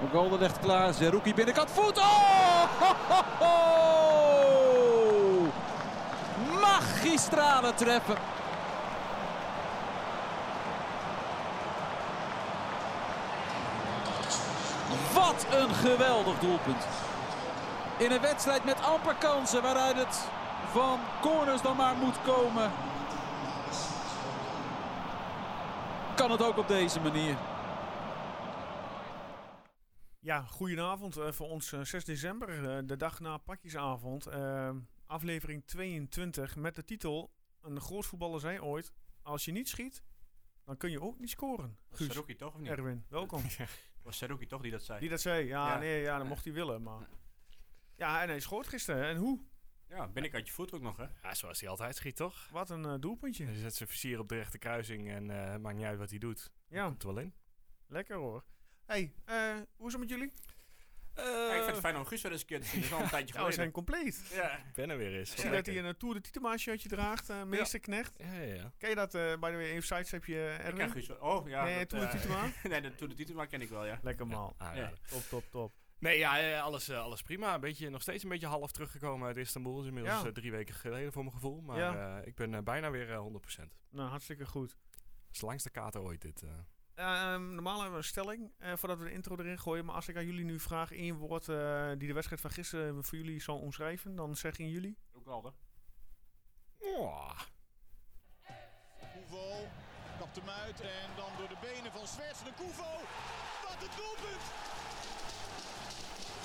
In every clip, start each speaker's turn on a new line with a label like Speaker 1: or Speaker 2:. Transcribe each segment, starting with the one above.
Speaker 1: Ongolen legt klaar. Zerouki binnenkant voet. Oh! Ho, ho, ho! Magistrale treffen. Wat een geweldig doelpunt. In een wedstrijd met amper kansen waaruit het van corners dan maar moet komen. Kan het ook op deze manier.
Speaker 2: Ja, goedenavond eh, voor ons eh, 6 december, eh, de dag na pakjesavond. Eh, aflevering 22 met de titel, een grootvoetballer zei ooit, als je niet schiet, dan kun je ook niet scoren.
Speaker 3: Was
Speaker 2: Guus,
Speaker 3: Saruki toch of niet?
Speaker 2: Erwin, welkom.
Speaker 3: Was Saruki toch die dat zei?
Speaker 2: Die dat zei, ja,
Speaker 3: Ja.
Speaker 2: nee, ja, dat mocht hij willen, maar... Ja, en hij schoot gisteren. En hoe?
Speaker 3: Ja, binnenkant je voet ook nog, hè?
Speaker 4: Ja, zoals hij altijd schiet, toch?
Speaker 2: Wat een eh, doelpuntje.
Speaker 4: Hij zet zijn versier op de rechte kruising en eh, het maakt niet uit wat hij doet.
Speaker 2: Ja,
Speaker 4: Komt er wel in.
Speaker 2: lekker hoor. hey, eh, hoe is het met jullie?
Speaker 3: Ja, ik vind het fijn om Guus weer eens een keer te zien. Dat is al een tijdje
Speaker 2: Nou, we
Speaker 3: geleden.
Speaker 2: zijn compleet.
Speaker 3: Ja.
Speaker 4: Ik ben er weer eens.
Speaker 2: Ik zie dat hij een eh, Tour de Titema shirtje draagt, eh meesterknecht.
Speaker 4: Ja, ja, ja.
Speaker 2: Ken je dat, eh by the way, even sidestepje, eh,
Speaker 3: Ik ken
Speaker 2: Erwin?
Speaker 3: Guus wel. Oh, ja.
Speaker 2: nee,
Speaker 3: dat,
Speaker 2: Tour de
Speaker 3: eh,
Speaker 2: Titema?
Speaker 3: nee, de Tour de Titema ken ik wel, ja.
Speaker 2: Lekker
Speaker 4: Ah, Ja,
Speaker 2: man.
Speaker 4: aanrader.
Speaker 3: Ja.
Speaker 2: Top, top, top.
Speaker 4: Nee, ja, eh, alles, eh, alles prima. Een beetje, nog steeds een beetje half teruggekomen uit Istanbul. Is inmiddels
Speaker 2: Ja.
Speaker 4: eh, drie weken geleden voor mijn gevoel. Maar
Speaker 2: Ja.
Speaker 4: eh, ik ben eh, bijna weer eh, 100%. Dat
Speaker 2: Nou, hartstikke goed.
Speaker 4: is de langste kater ooit dit. eh.
Speaker 2: Eh, ehm, normaal hebben we een stelling eh, voordat we de intro erin gooien. Maar als ik aan jullie nu vraag één woord eh, die de wedstrijd van gisteren voor jullie zal omschrijven, dan zeggen jullie.
Speaker 3: Ook al, hè?
Speaker 4: Oh,
Speaker 5: Koevo kapt hem uit en dan door de benen van Zwerts de Koevo. Wat een doelpunt!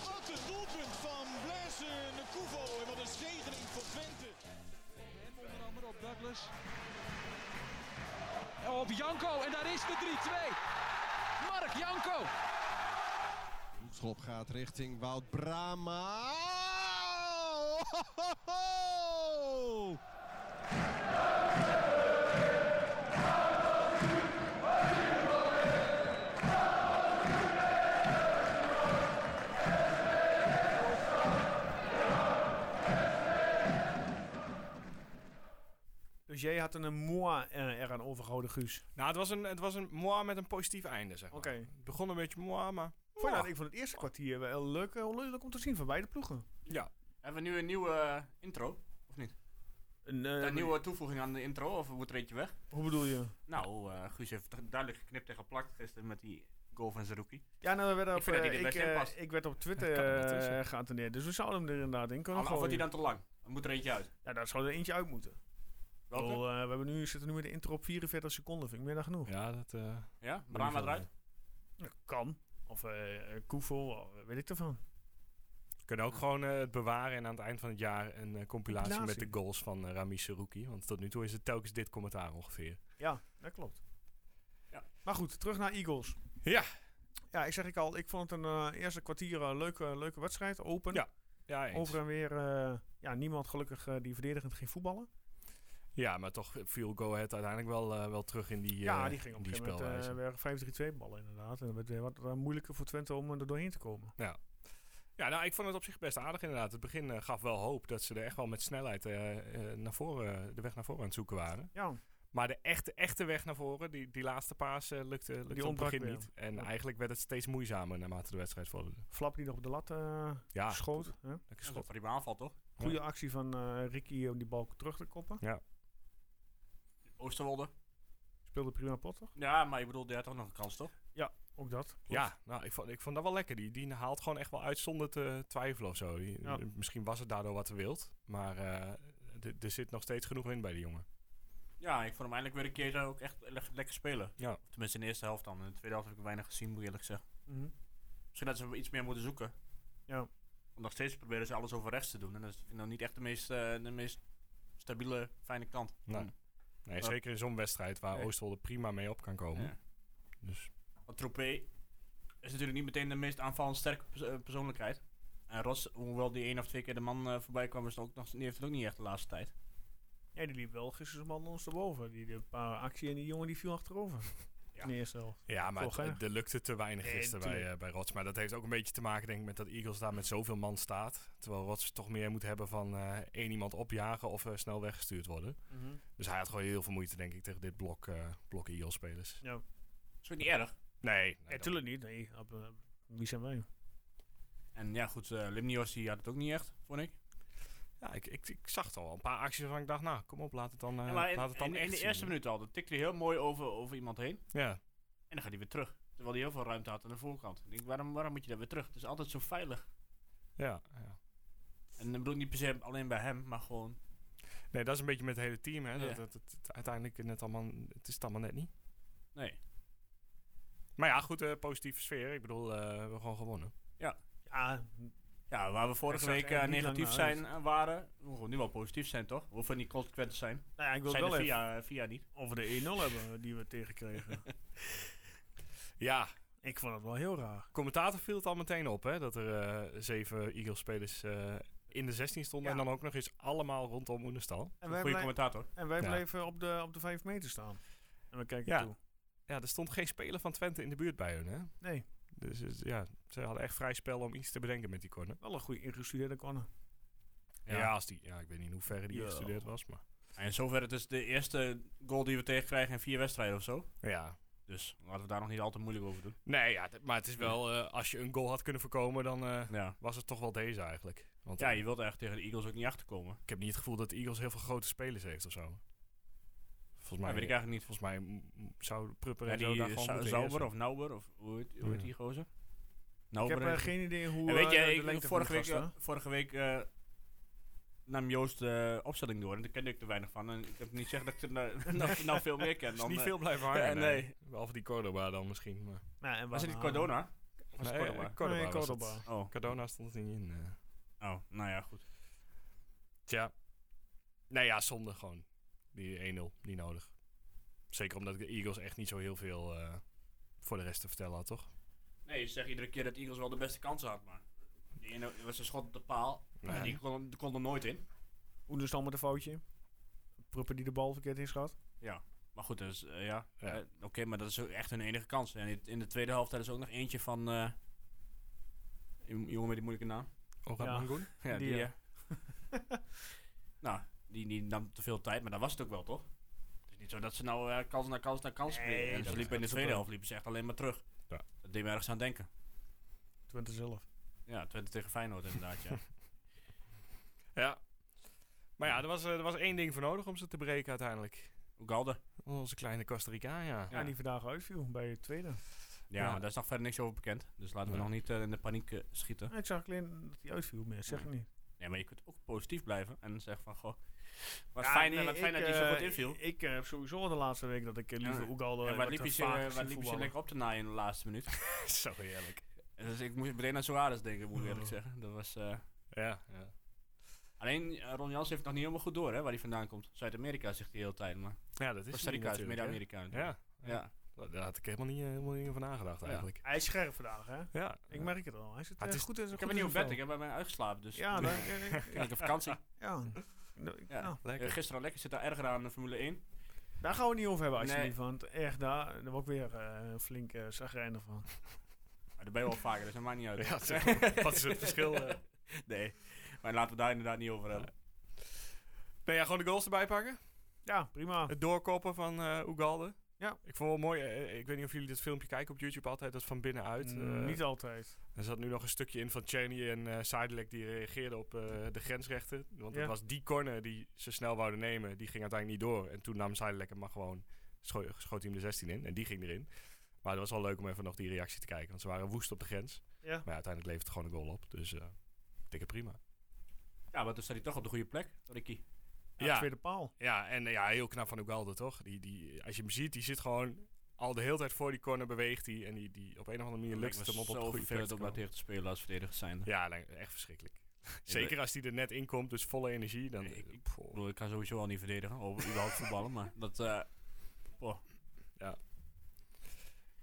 Speaker 5: Wat een doelpunt van Blaise de Koevo en wat een zegening voor Twente.
Speaker 1: Onder andere op Douglas. Op Janko en daar is de 3-2. Mark Janko.
Speaker 5: Schop gaat richting Wout Brama.
Speaker 2: Dus jij had een eh, moi eh, eraan overgehouden, Guus.
Speaker 4: Nou, het was een, het was een moi met een positief einde, zeg maar.
Speaker 2: Oké.
Speaker 4: Het begon een beetje moi, maar...
Speaker 2: Vond je dat? Ik vond het eerste kwartier wel heel leuk, eh, leuk om te zien van beide ploegen.
Speaker 4: Ja.
Speaker 3: Hebben we nu een nieuwe eh, intro? Of niet?
Speaker 2: Een, eh,
Speaker 3: Een nieuwe toevoeging aan de intro? Of wordt er eentje weg?
Speaker 2: Hoe bedoel je?
Speaker 3: Nou, eh, Guus heeft toch duidelijk geknipt en geplakt gisteren met die goal van Saruki.
Speaker 2: Ja, nou, we werden
Speaker 3: Ik
Speaker 2: op,
Speaker 3: vind dat
Speaker 2: eh,
Speaker 3: hij er
Speaker 2: ik,
Speaker 3: best in
Speaker 2: eh,
Speaker 3: past.
Speaker 2: ik werd op Twitter
Speaker 4: Kan er net
Speaker 2: eh,
Speaker 4: tussen.
Speaker 2: geattendeerd, dus we zouden hem er inderdaad in kunnen
Speaker 3: Maar of wordt die
Speaker 2: gooien.
Speaker 3: dan te lang? Dan moet er eentje uit.
Speaker 2: Ja, daar zou er eentje uit moeten. Ik
Speaker 3: Welke?
Speaker 2: bedoel, eh, we hebben nu, zitten nu met de intro op 44 seconden, vind ik meer dan genoeg.
Speaker 4: Ja, dat... eh,
Speaker 3: Ja, Brahma eruit.
Speaker 2: Ja, Kan. Of eh eh, Koevel, of weet ik ervan.
Speaker 4: We kunnen ook gewoon eh, het bewaren en aan het eind van het jaar een eh, compilatie met
Speaker 2: Compilatie.
Speaker 4: de goals van eh, Rami Serouki. Want tot nu toe is het telkens dit commentaar ongeveer.
Speaker 2: Ja, dat klopt.
Speaker 3: Ja.
Speaker 2: Maar goed, terug naar Eagles.
Speaker 4: Ja.
Speaker 2: Ja, ik zeg ik al, ik vond het een eh, eerste kwartier een leuke, leuke wedstrijd. Open.
Speaker 4: Ja, Ja, eens.
Speaker 2: Over en weer eh, ja, niemand gelukkig eh, die verdedigend ging voetballen.
Speaker 4: ja maar toch viel Go Ahead uiteindelijk wel, eh, wel terug in die,
Speaker 2: ja,
Speaker 4: eh,
Speaker 2: die ging op een
Speaker 4: die
Speaker 2: gegeven moment
Speaker 4: spelwijze.
Speaker 2: eh, weer 5-3-2 ballen inderdaad. En het werd weer wat eh, moeilijker voor Twente om eh, er doorheen te komen.
Speaker 4: ja, nou, ik vond het op zich best aardig inderdaad. Het begin eh, gaf wel hoop dat ze er echt wel met snelheid eh, eh, naar voren, de weg naar voren aan het zoeken waren.
Speaker 2: Ja,
Speaker 4: Maar de echte, echte weg naar voren, die, die laatste paas, eh, lukte, lukte op het
Speaker 2: ontbrak
Speaker 4: begin
Speaker 2: weer.
Speaker 4: niet. En
Speaker 2: Ja.
Speaker 4: eigenlijk werd het steeds moeizamer naarmate de wedstrijd vorderde.
Speaker 2: Flap die nog op de lat eh,
Speaker 4: Ah, Ja,
Speaker 2: schoot. Hè?
Speaker 4: lekker
Speaker 3: Dat is een
Speaker 4: schot.
Speaker 3: prima aanval, toch?
Speaker 2: Goede actie van eh, Ricky om die bal terug te koppen.
Speaker 3: Oosterwolde.
Speaker 2: Speelde prima pot, toch?
Speaker 3: Ja, maar ik bedoel, die had toch nog een kans, toch?
Speaker 2: Ook dat.
Speaker 4: Ja, nou, ik vond, ik vond dat wel lekker. Die, die haalt gewoon echt wel uit zonder te twijfelen of zo. Die-
Speaker 2: Ja.
Speaker 4: Misschien was het daardoor wat te wild. Maar eh, d- er zit nog steeds genoeg in bij die jongen.
Speaker 3: Ja, ik vond hem eindelijk weer een keer eh, ook echt le- lekker spelen.
Speaker 4: Ja.
Speaker 3: Tenminste in de eerste helft dan. In de tweede helft heb ik weinig gezien, moet ik eerlijk zeggen.
Speaker 2: Mhm.
Speaker 3: Misschien dat ze iets meer moeten zoeken.
Speaker 2: Ja.
Speaker 3: Want nog steeds proberen ze alles over rechts te doen. En dat vind ik nou niet echt de meest, eh, de meest stabiele, fijne kant.
Speaker 4: Nee.
Speaker 3: Mm.
Speaker 4: Nee,
Speaker 3: Ja.
Speaker 4: zeker in zo'n wedstrijd waar
Speaker 3: Nee.
Speaker 4: Oosterwolde prima mee op kan komen.
Speaker 3: Ja.
Speaker 4: Dus
Speaker 3: Want Troepé is natuurlijk niet meteen de meest aanvallend sterke pers- eh, persoonlijkheid. En Ross, hoewel die één of twee keer de man eh, voorbij kwam, is het ook nog, die heeft het ook niet echt de laatste tijd.
Speaker 2: Ja, die liep wel gisteren man ons erboven. Die de paar actie en die jongen die viel achterover.
Speaker 3: Ja.
Speaker 2: In de eerste helft.
Speaker 4: ja, maar
Speaker 2: Toch,
Speaker 4: het-
Speaker 2: hè?
Speaker 4: het- er lukte te weinig
Speaker 2: Nee,
Speaker 4: gisteren bij,
Speaker 2: tuurlijk.
Speaker 4: eh, bij Rots. Maar dat heeft ook een beetje te maken, denk ik, met dat Eagles daar met zoveel man staat. Terwijl Rots toch meer moet hebben van eh, één iemand opjagen of eh, snel weggestuurd worden.
Speaker 2: Mhm.
Speaker 4: Dus hij had gewoon heel veel moeite, denk ik, tegen dit blok, eh blok Eagles-spelers.
Speaker 3: Dat is ook niet erg.
Speaker 4: Nee, nee,
Speaker 2: Ja,
Speaker 4: dat-
Speaker 2: tuurlijk niet. Nee, op, eh, Wie zijn wij?
Speaker 3: En ja, goed, eh Limnios die had het ook niet echt, vond ik.
Speaker 4: Eh, Ja, ik, ik, ik zag het al wel. Een paar acties waarvan ik dacht, nou, kom op, laat het dan, eh
Speaker 3: Ja, maar in,
Speaker 4: laat het dan
Speaker 3: in- in
Speaker 4: echt
Speaker 3: de
Speaker 4: zien.
Speaker 3: eerste minuut al, dan tikt hij heel mooi over, over iemand heen.
Speaker 4: Ja.
Speaker 3: En dan gaat hij weer terug. Terwijl hij heel veel ruimte had aan de voorkant. Ik denk, waarom, waarom moet je daar weer terug? Het is altijd zo veilig.
Speaker 4: Ja, ja.
Speaker 3: En dan bedoel ik niet per se alleen bij hem, maar gewoon...
Speaker 4: Nee, dat is een beetje met het hele team, hè.
Speaker 3: Ja.
Speaker 4: Dat, dat, dat- het uiteindelijk net allemaal, het is het allemaal net niet.
Speaker 3: Nee.
Speaker 4: Maar ja, goed, eh, positieve sfeer. Ik bedoel, eh, we hebben gewoon gewonnen.
Speaker 2: Ja, nou
Speaker 3: Ja, waar we vorige
Speaker 2: zag
Speaker 3: week
Speaker 2: er
Speaker 3: eh,
Speaker 2: niet
Speaker 3: negatief
Speaker 2: lang naar
Speaker 3: zijn eh, waren, we moeten nu wel positief zijn, toch? We hoeven niet consequent te zijn.
Speaker 2: nou ja, ik wil het
Speaker 3: zijn
Speaker 2: wel
Speaker 3: er
Speaker 2: even
Speaker 3: via, via niet.
Speaker 2: over de 1-0 hebben die we tegenkregen.
Speaker 4: Ja,
Speaker 2: ik vond het wel heel raar.
Speaker 4: commentator viel het al meteen op, hè. Dat er eh, zeven Eagles-spelers eh, in de 16 stonden.
Speaker 2: Ja.
Speaker 4: En dan ook nog eens allemaal rondom Oenestal.
Speaker 2: En wij, blij-
Speaker 3: Goede commentator.
Speaker 2: en wij
Speaker 4: Ja.
Speaker 2: bleven op de, op de 5 meter staan. En we kijken
Speaker 4: Ja.
Speaker 2: toe.
Speaker 4: Ja, er stond geen speler van Twente in de buurt bij hun, hè.
Speaker 2: Nee,
Speaker 4: Dus eh, ja, ze hadden echt vrij spel om iets te bedenken met die corner.
Speaker 2: wel een goede ingestudeerde corner.
Speaker 4: Ja,
Speaker 3: Ja.
Speaker 4: als die, ja ik weet niet hoe ver die
Speaker 2: Ja.
Speaker 4: gestudeerd was, maar...
Speaker 3: En in zoverre, het is de eerste goal die we tegenkrijgen in vier wedstrijden of zo.
Speaker 4: Ja.
Speaker 3: Dus laten we daar nog niet al te moeilijk over doen.
Speaker 4: Nee, ja, d- maar het is wel... eh, als je een goal had kunnen voorkomen, dan eh,
Speaker 3: Ja.
Speaker 4: was het toch wel deze eigenlijk. Want
Speaker 3: Ja,
Speaker 4: eh,
Speaker 3: je wilt eigenlijk tegen de Eagles ook niet achterkomen.
Speaker 4: ik heb niet het gevoel dat de Eagles heel veel grote spelers heeft of zo. Volgens mij,
Speaker 3: Maar weet ik eigenlijk niet.
Speaker 4: volgens mij m- m- zou Prupper
Speaker 3: Ja,
Speaker 4: en zo daar
Speaker 3: die
Speaker 4: gewoon
Speaker 3: Sau-
Speaker 4: moeten
Speaker 3: Sauber
Speaker 4: heersen.
Speaker 3: of Nauber of hoe heet, hoe heet
Speaker 4: Ja.
Speaker 3: die gozer?
Speaker 2: Ik heb
Speaker 3: Nauber.
Speaker 2: eh,
Speaker 3: en-
Speaker 2: geen idee hoe.
Speaker 3: en weet
Speaker 2: eh,
Speaker 3: je,
Speaker 2: de- de
Speaker 3: ik-
Speaker 2: lengte van
Speaker 3: vorige,
Speaker 2: die
Speaker 3: week,
Speaker 2: gasten-
Speaker 3: eh, vorige week eh, nam Joost de opstelling door en daar kende ik er weinig van. En ik heb niet gezegd dat ik er nou, nou, nou veel meer ken.
Speaker 4: Is
Speaker 3: Dan,
Speaker 4: niet
Speaker 3: eh,
Speaker 4: veel blijven hangen,
Speaker 3: ja,
Speaker 4: nee.
Speaker 3: nee.
Speaker 4: Behalve die Cordoba dan misschien, maar...
Speaker 2: Nou, en
Speaker 3: Was het niet
Speaker 2: Wana-
Speaker 3: Cardona? Of was het
Speaker 4: Nee, eh,
Speaker 3: Cordoba?
Speaker 4: Cordoba
Speaker 2: Nee,
Speaker 4: was het.
Speaker 2: Cordoba.
Speaker 3: Oh.
Speaker 4: Cardona stond er niet in. eh.
Speaker 3: oh, nou ja, goed.
Speaker 4: Tja. Nou ja, zonde gewoon. Die 1-0, niet nodig. Zeker omdat ik de Eagles echt niet zo heel veel eh, voor de rest te vertellen had, toch?
Speaker 3: Nee, je zegt iedere keer dat Eagles wel de beste kansen had, maar... Die ene was een schot op de paal.
Speaker 4: Nee.
Speaker 3: en Die kon, die kon er nooit in.
Speaker 2: Oenerstal met een foutje. Prupper die de bal verkeerd inschat.
Speaker 3: Maar goed, dus, eh, ja.
Speaker 4: Ja.
Speaker 3: Eh, Oké, maar dat is ook echt hun enige kans. En in- in de tweede helft daar is ook nog eentje van... eh, die jongen met die moeilijke naam.
Speaker 4: Oran
Speaker 2: Ja.
Speaker 4: Mangoen?
Speaker 3: Ja,
Speaker 2: Die,
Speaker 3: die,
Speaker 2: ja.
Speaker 3: eh. nou, die, die nam te veel tijd, maar dat was het ook wel, toch? Het is niet zo dat ze nou eh, kans naar kans naar kans
Speaker 2: Nee,
Speaker 3: spelen. En
Speaker 2: dat
Speaker 3: ze
Speaker 2: is-
Speaker 3: liepen
Speaker 2: dat
Speaker 3: in de
Speaker 2: is ook
Speaker 3: tweede
Speaker 2: wel.
Speaker 3: helft liepen ze echt alleen maar terug.
Speaker 4: Ja.
Speaker 3: Dat deed me ergens aan denken.
Speaker 2: Twente zelf.
Speaker 3: Ja, Twente tegen Feyenoord inderdaad, ja.
Speaker 4: Ja. Maar ja, er was, eh, er was één ding voor nodig om ze te breken uiteindelijk.
Speaker 3: Ugalde.
Speaker 4: Onze kleine Costa Rica, ja.
Speaker 2: Ja. En die vandaag uitviel bij het tweede.
Speaker 3: Ja,
Speaker 4: Ja.
Speaker 3: maar daar is nog verder niks over bekend. Dus laten we
Speaker 4: Nee.
Speaker 3: nog niet eh, in de paniek eh, schieten.
Speaker 2: Ik zag alleen dat hij uitviel, meer zeg ik niet.
Speaker 3: Nee, maar je kunt ook positief blijven en zeggen van, goh... Wat
Speaker 2: Ja,
Speaker 3: fijn,
Speaker 2: nee,
Speaker 3: wat fijn
Speaker 2: ik,
Speaker 3: dat hij zo
Speaker 2: eh,
Speaker 3: goed inviel.
Speaker 2: Ik, ik, eh, heb sowieso al de laatste week dat ik eh, liever
Speaker 3: Ja.
Speaker 2: Oegalde
Speaker 3: En waar liep je
Speaker 2: wat
Speaker 3: ze-
Speaker 2: vaker
Speaker 3: waar
Speaker 2: zie
Speaker 3: liep je ze
Speaker 2: voetballen.
Speaker 3: lekker op te naaien in de laatste minuut?
Speaker 4: zo heerlijk.
Speaker 3: dus ik moest meteen aan Suarez denken, moet ik eerlijk zeggen. Dat was... eh,
Speaker 4: Ja, ja.
Speaker 3: Alleen eh, Ron Jans heeft het nog niet helemaal goed door, hè, waar hij vandaan komt. Zuid-Amerika zegt hij de hele tijd, maar
Speaker 4: Ja, dat is
Speaker 3: Costa
Speaker 4: hij
Speaker 3: Rica is
Speaker 4: natuurlijk, hè.
Speaker 3: Midden-Amerika. natuurlijk.
Speaker 4: Ja.
Speaker 3: Ja.
Speaker 4: Daar daar had ik helemaal niet, eh, helemaal niet van nagedacht
Speaker 3: Ja.
Speaker 4: eigenlijk.
Speaker 2: Hij is scherp vandaag, hè?
Speaker 4: Ja.
Speaker 2: Ik merk het al. Hij zit
Speaker 4: Ah, het
Speaker 2: eh,
Speaker 4: is-
Speaker 2: goed in zijn
Speaker 3: Ik heb een
Speaker 2: goed
Speaker 3: nieuw
Speaker 2: in zijn
Speaker 3: bed, ik
Speaker 2: vel.
Speaker 3: heb bij mij uitgeslapen, dus
Speaker 2: Ja,
Speaker 3: ik
Speaker 2: dan, eh, eh,
Speaker 3: heb vakantie.
Speaker 2: ja. Nou, ik-
Speaker 3: Ja.
Speaker 2: nou,
Speaker 3: Eh,
Speaker 4: Lekker.
Speaker 3: gisteren al lekker zit daar erger aan de Formule 1.
Speaker 2: daar gaan we het niet over hebben
Speaker 3: Nee.
Speaker 2: alsjeblieft, want echt, daar, daar word ik weer eh, flink uh, van.
Speaker 3: Maar daar ben je wel vaker, dus dat maakt niet uit.
Speaker 4: Ja, zeg, wat is het verschil? eh?
Speaker 3: Nee, maar laten we daar inderdaad niet over hebben.
Speaker 4: Nou ja, gewoon de goals erbij pakken.
Speaker 2: Ja, prima.
Speaker 4: Het doorkoppen van eh Ugalde.
Speaker 2: Ja.
Speaker 4: Ik vond wel mooi. eh, ik weet niet of jullie dit filmpje kijken op YouTube altijd. Dat van binnenuit. eh,
Speaker 2: Mm, niet altijd.
Speaker 4: er zat nu nog een stukje in van Cheney en eh Sidelec die reageerden op eh, de grensrechten. Want
Speaker 2: Ja.
Speaker 4: het was die corner die ze snel wouden nemen. Die ging uiteindelijk niet door. En toen nam Sidelec hem maar gewoon. Scho schoot hij hem de 16 in. En die ging erin. Maar het was wel leuk om even nog die reactie te kijken. Want ze waren woest op de grens.
Speaker 2: Ja.
Speaker 4: Maar ja, uiteindelijk levert het gewoon een goal op. Dus eh dikke prima.
Speaker 3: Ja, maar toen staat hij toch op de goede plek, Ricky.
Speaker 2: Ja, Tweede paal.
Speaker 4: Ja, en eh, ja, heel knap van Ugalde, toch? Die, die, als je hem ziet, die zit gewoon al de hele tijd voor die corner beweegt hij. En die, die op een of andere manier lukt het hem op op de
Speaker 3: zo
Speaker 4: goede plek
Speaker 3: vervelend
Speaker 4: te
Speaker 3: om daar
Speaker 4: komen.
Speaker 3: tegen te spelen als verdediger zijn.
Speaker 4: Ja, nee, echt verschrikkelijk. Zeker als die er net in komt, dus volle energie. Dan, eh,
Speaker 3: Ik- ik-
Speaker 4: Pff,
Speaker 3: Ik bedoel, ik kan sowieso al niet verdedigen, of überhaupt voetballen, maar dat... eh,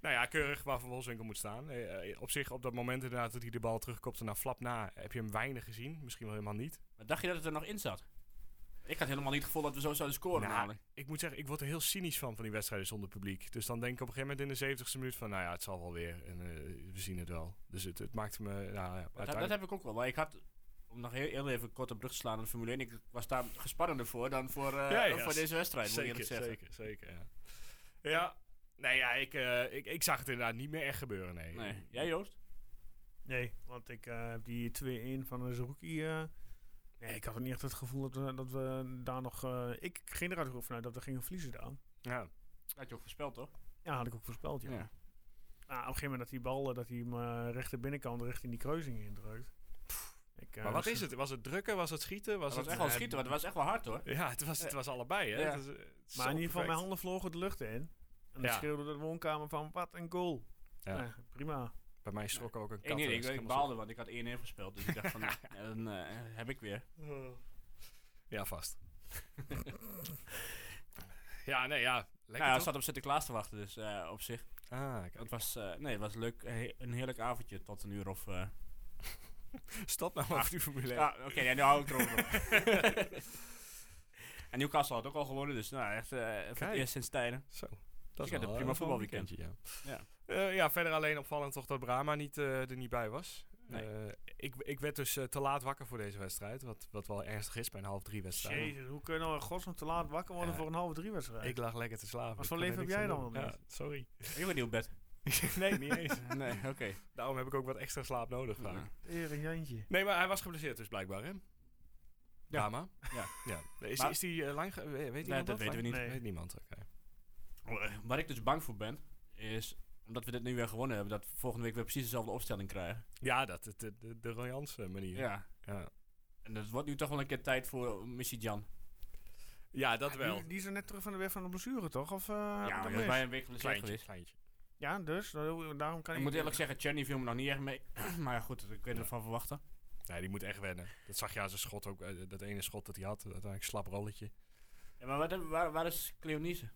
Speaker 4: nou ja, keurig waar Van Wolfswinkel moet staan. Eh, eh, op zich, op dat moment inderdaad dat hij de bal terugkopte naar Flap na, heb je hem weinig gezien. Misschien wel helemaal niet.
Speaker 3: maar dacht je dat het er nog in zat? Ik had helemaal niet het gevoel dat we zo zouden scoren
Speaker 4: Nou,
Speaker 3: namelijk.
Speaker 4: Ik moet zeggen, ik word er heel cynisch van, van die wedstrijden zonder publiek. Dus dan denk ik op een gegeven moment in de 70ste minuut van, nou ja, het zal wel weer. En eh, we zien het wel. Dus het, het maakte me, nou ja,
Speaker 3: Dat, dat
Speaker 4: uiteindelijk-
Speaker 3: heb ik ook wel. Maar ik had, om nog heel, heel even kort een brug te slaan aan de Formule 1, ik was daar gespannender voor dan voor, eh,
Speaker 4: Ja, ja,
Speaker 3: voor
Speaker 4: z-
Speaker 3: deze wedstrijd, moet ik
Speaker 4: zeker,
Speaker 3: eerlijk zeggen.
Speaker 4: zeker, zeker, ja. Ja, nee, ja, ik, eh, ik, ik zag het inderdaad niet meer echt gebeuren, nee.
Speaker 3: Nee. Jij Joost?
Speaker 2: Nee, want ik eh, heb die 2-1 van Zerouki. nee, ik had niet echt het gevoel dat we, dat we daar nog. eh, ik ging eruit vanuit dat we gingen verliezen daar.
Speaker 4: Ja.
Speaker 3: Had je ook voorspeld, toch?
Speaker 2: Ja, had ik ook voorspeld. Ja. Nou, op een gegeven moment dat die bal eh, dat hij hem eh, rechter binnenkant richting die kruising indrukt. Ik, eh,
Speaker 4: maar wat
Speaker 2: dus-
Speaker 4: is het? Was het drukken? Was het schieten?
Speaker 3: Dat
Speaker 4: Was
Speaker 3: was
Speaker 4: het
Speaker 3: echt wel
Speaker 4: eh,
Speaker 3: schieten, want het was echt wel hard, hoor.
Speaker 4: Ja, het was, het was allebei, hè?
Speaker 3: Ja.
Speaker 4: Het is, eh, het is
Speaker 2: Maar
Speaker 4: zo
Speaker 2: in ieder geval,
Speaker 4: perfect.
Speaker 2: mijn handen vlogen de lucht in. En dan
Speaker 4: Ja.
Speaker 2: schreeuwde de woonkamer van, wat een goal.
Speaker 4: Ja.
Speaker 2: Nou, prima.
Speaker 4: Bij mij schrok ook een kat.
Speaker 3: Ik, nee,
Speaker 4: dus
Speaker 3: ik, ik
Speaker 4: helemaal zo-
Speaker 3: baalde, want ik had 1-1 gespeeld. Dus ik dacht van, nou, dan eh, heb ik weer.
Speaker 4: Ja, vast. ja, nee, ja. Lekker
Speaker 3: nou, ja,
Speaker 4: toch?
Speaker 3: ik zat op Sinterklaas te wachten, dus eh, op zich.
Speaker 4: Ah, kijk.
Speaker 3: Het was, eh, nee, het was leuk, een he- een heerlijk avondje tot een uur of... eh,
Speaker 4: Stop nou over die formule.
Speaker 3: Ja, Ah, oké, ja, nu hou ik erover op. en Newcastle had ook al gewonnen, dus nou, echt eh, voor
Speaker 4: Kijk.
Speaker 3: het eerst sinds tijden.
Speaker 4: Zo.
Speaker 3: had
Speaker 4: Dat
Speaker 3: een
Speaker 4: wel,
Speaker 3: prima
Speaker 4: eh, een
Speaker 3: voetbalweekend.
Speaker 4: weekendje, Ja.
Speaker 3: Ja.
Speaker 4: Eh, ja, verder alleen opvallend toch dat Brahma niet, eh, er niet bij was.
Speaker 3: Nee.
Speaker 4: Eh, ik, ik werd dus eh, te laat wakker voor deze wedstrijd. Wat, wat wel ernstig is bij een half drie wedstrijd.
Speaker 2: Jezus, hoe kunnen we in godsnaam te laat wakker worden
Speaker 4: Ja.
Speaker 2: voor een halve drie wedstrijd?
Speaker 4: Ik lag lekker te slapen.
Speaker 2: Wat
Speaker 4: Ik
Speaker 2: voor
Speaker 4: kon er
Speaker 2: leven heb
Speaker 4: niks
Speaker 2: jij
Speaker 4: aan
Speaker 2: dan
Speaker 4: doen.
Speaker 2: wel
Speaker 4: Ja, sorry.
Speaker 3: Ik ben niet op bed.
Speaker 4: nee, niet eens.
Speaker 3: nee, oké.
Speaker 4: Daarom heb ik ook wat extra slaap nodig vaak.
Speaker 3: Nou,
Speaker 2: Eer een jantje.
Speaker 4: Nee, maar hij was geblesseerd dus blijkbaar, hè? Brahma.
Speaker 3: Ja.
Speaker 4: ja. Is,
Speaker 3: Maar-
Speaker 4: is die eh, lang... ge- Weet
Speaker 3: dat
Speaker 4: iemand dat?
Speaker 3: weten we niet.
Speaker 2: Nee.
Speaker 4: Weet niemand, oké.
Speaker 3: Waar ik dus bang voor ben, is omdat we dit nu weer gewonnen hebben, dat we volgende week weer precies dezelfde opstelling krijgen.
Speaker 4: Ja, dat, de, de, de, de Royaanse manier.
Speaker 3: Ja.
Speaker 4: ja.
Speaker 3: En het wordt nu toch wel een keer tijd voor Missy Jan.
Speaker 4: Ja, dat wel.
Speaker 2: Die, die is er net terug van de weg van de blessure, toch? Of, eh, heb ik dat
Speaker 3: ja, maar dat
Speaker 2: mis?
Speaker 3: is bij een week geblesseerd
Speaker 4: Kleintje,
Speaker 3: geweest.
Speaker 4: kleintje.
Speaker 2: ja, dus, da- daarom kan
Speaker 3: Ik
Speaker 2: ik...
Speaker 3: moet eerlijk zeggen, Cherny viel me nog niet echt mee. maar ja, goed, ik weet ervan verwachten.
Speaker 4: Nee, die moet echt wennen. Dat zag je aan zijn schot ook. eh, dat ene schot dat hij had, dat uiteindelijk een slap rolletje.
Speaker 3: Ja, maar wat hebben- waar, waar is Cleonise?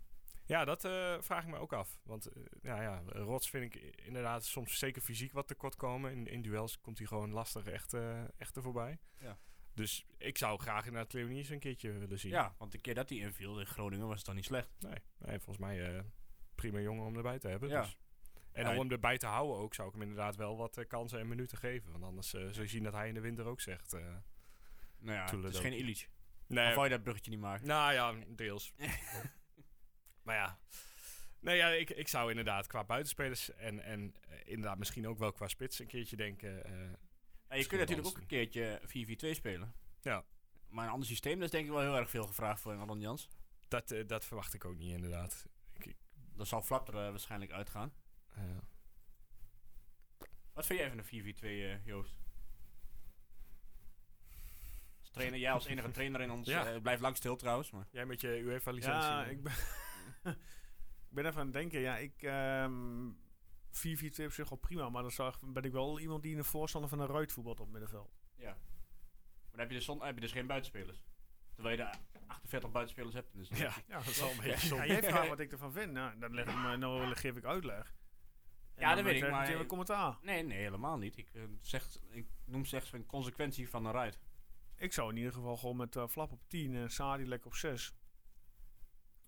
Speaker 4: Ja, dat eh, vraag ik me ook af. Want eh, nou ja, Rots vind ik i- inderdaad soms zeker fysiek wat tekort komen. In, in duels komt hij gewoon lastig echt, eh, echt er voorbij.
Speaker 3: Ja.
Speaker 4: Dus ik zou graag inderdaad Leonies een keertje willen zien.
Speaker 3: Ja, want de keer dat hij inviel in Groningen was het dan niet slecht.
Speaker 4: Nee, nee volgens mij eh, prima jongen om erbij te hebben.
Speaker 3: Ja.
Speaker 4: Dus. En
Speaker 3: Ja,
Speaker 4: om hem erbij te houden ook, zou ik hem inderdaad wel wat eh, kansen en minuten geven. Want anders eh, zul je zien dat hij in de winter ook zegt... eh,
Speaker 3: Nou ja, het is
Speaker 4: Toeledo.
Speaker 3: geen Illich.
Speaker 4: nee,
Speaker 3: Of wou je dat bruggetje niet maken?
Speaker 4: Nou ja, deels. maar ja. Nee, ja, ik, ik zou inderdaad qua buitenspelers en, en eh, inderdaad misschien ook wel qua spits een keertje denken. eh,
Speaker 3: Ja, je kunt natuurlijk ook een keertje 4-4-2 spelen.
Speaker 4: Ja.
Speaker 3: Maar een ander systeem, dat is denk ik wel heel erg veel gevraagd voor Ron Jans.
Speaker 4: dat, eh, dat verwacht ik ook niet inderdaad.
Speaker 3: Dan zal Flap er eh, waarschijnlijk uitgaan.
Speaker 4: Ja.
Speaker 3: Wat vind jij van een 4-4-2, eh, Joost? Als trainer, jij als enige trainer in ons...
Speaker 4: Ja.
Speaker 3: eh, blijf lang stil trouwens, maar...
Speaker 4: Jij met je UEFA-licentie.
Speaker 2: Ja, ik ben, ik ben even aan het denken. Ja, ik... ehm 4-4-2 op zich al prima, maar dan zag, ben ik wel iemand die een voorstander van een ruit voetbalt op middenveld.
Speaker 3: Ja. Maar dan heb je dus, zon, heb je dus geen buitenspelers. Terwijl je daar 48 buitenspelers hebt. Dus
Speaker 4: Ja, dat is wel een beetje zonde.
Speaker 2: Ja, jij vraagt wat ik ervan vind. Nou, dan leg ik me, nou geef ik uitleg. En
Speaker 3: Ja,
Speaker 2: dan
Speaker 3: dat weet ik,
Speaker 2: krijg
Speaker 3: maar-
Speaker 2: meteen weer commentaar.
Speaker 3: Nee, nee, helemaal niet. Ik, eh, zeg, ik noem slechts een consequentie van een ride.
Speaker 2: Ik zou in ieder geval gewoon met eh, Flap op 10 en Sadi lekker op 6.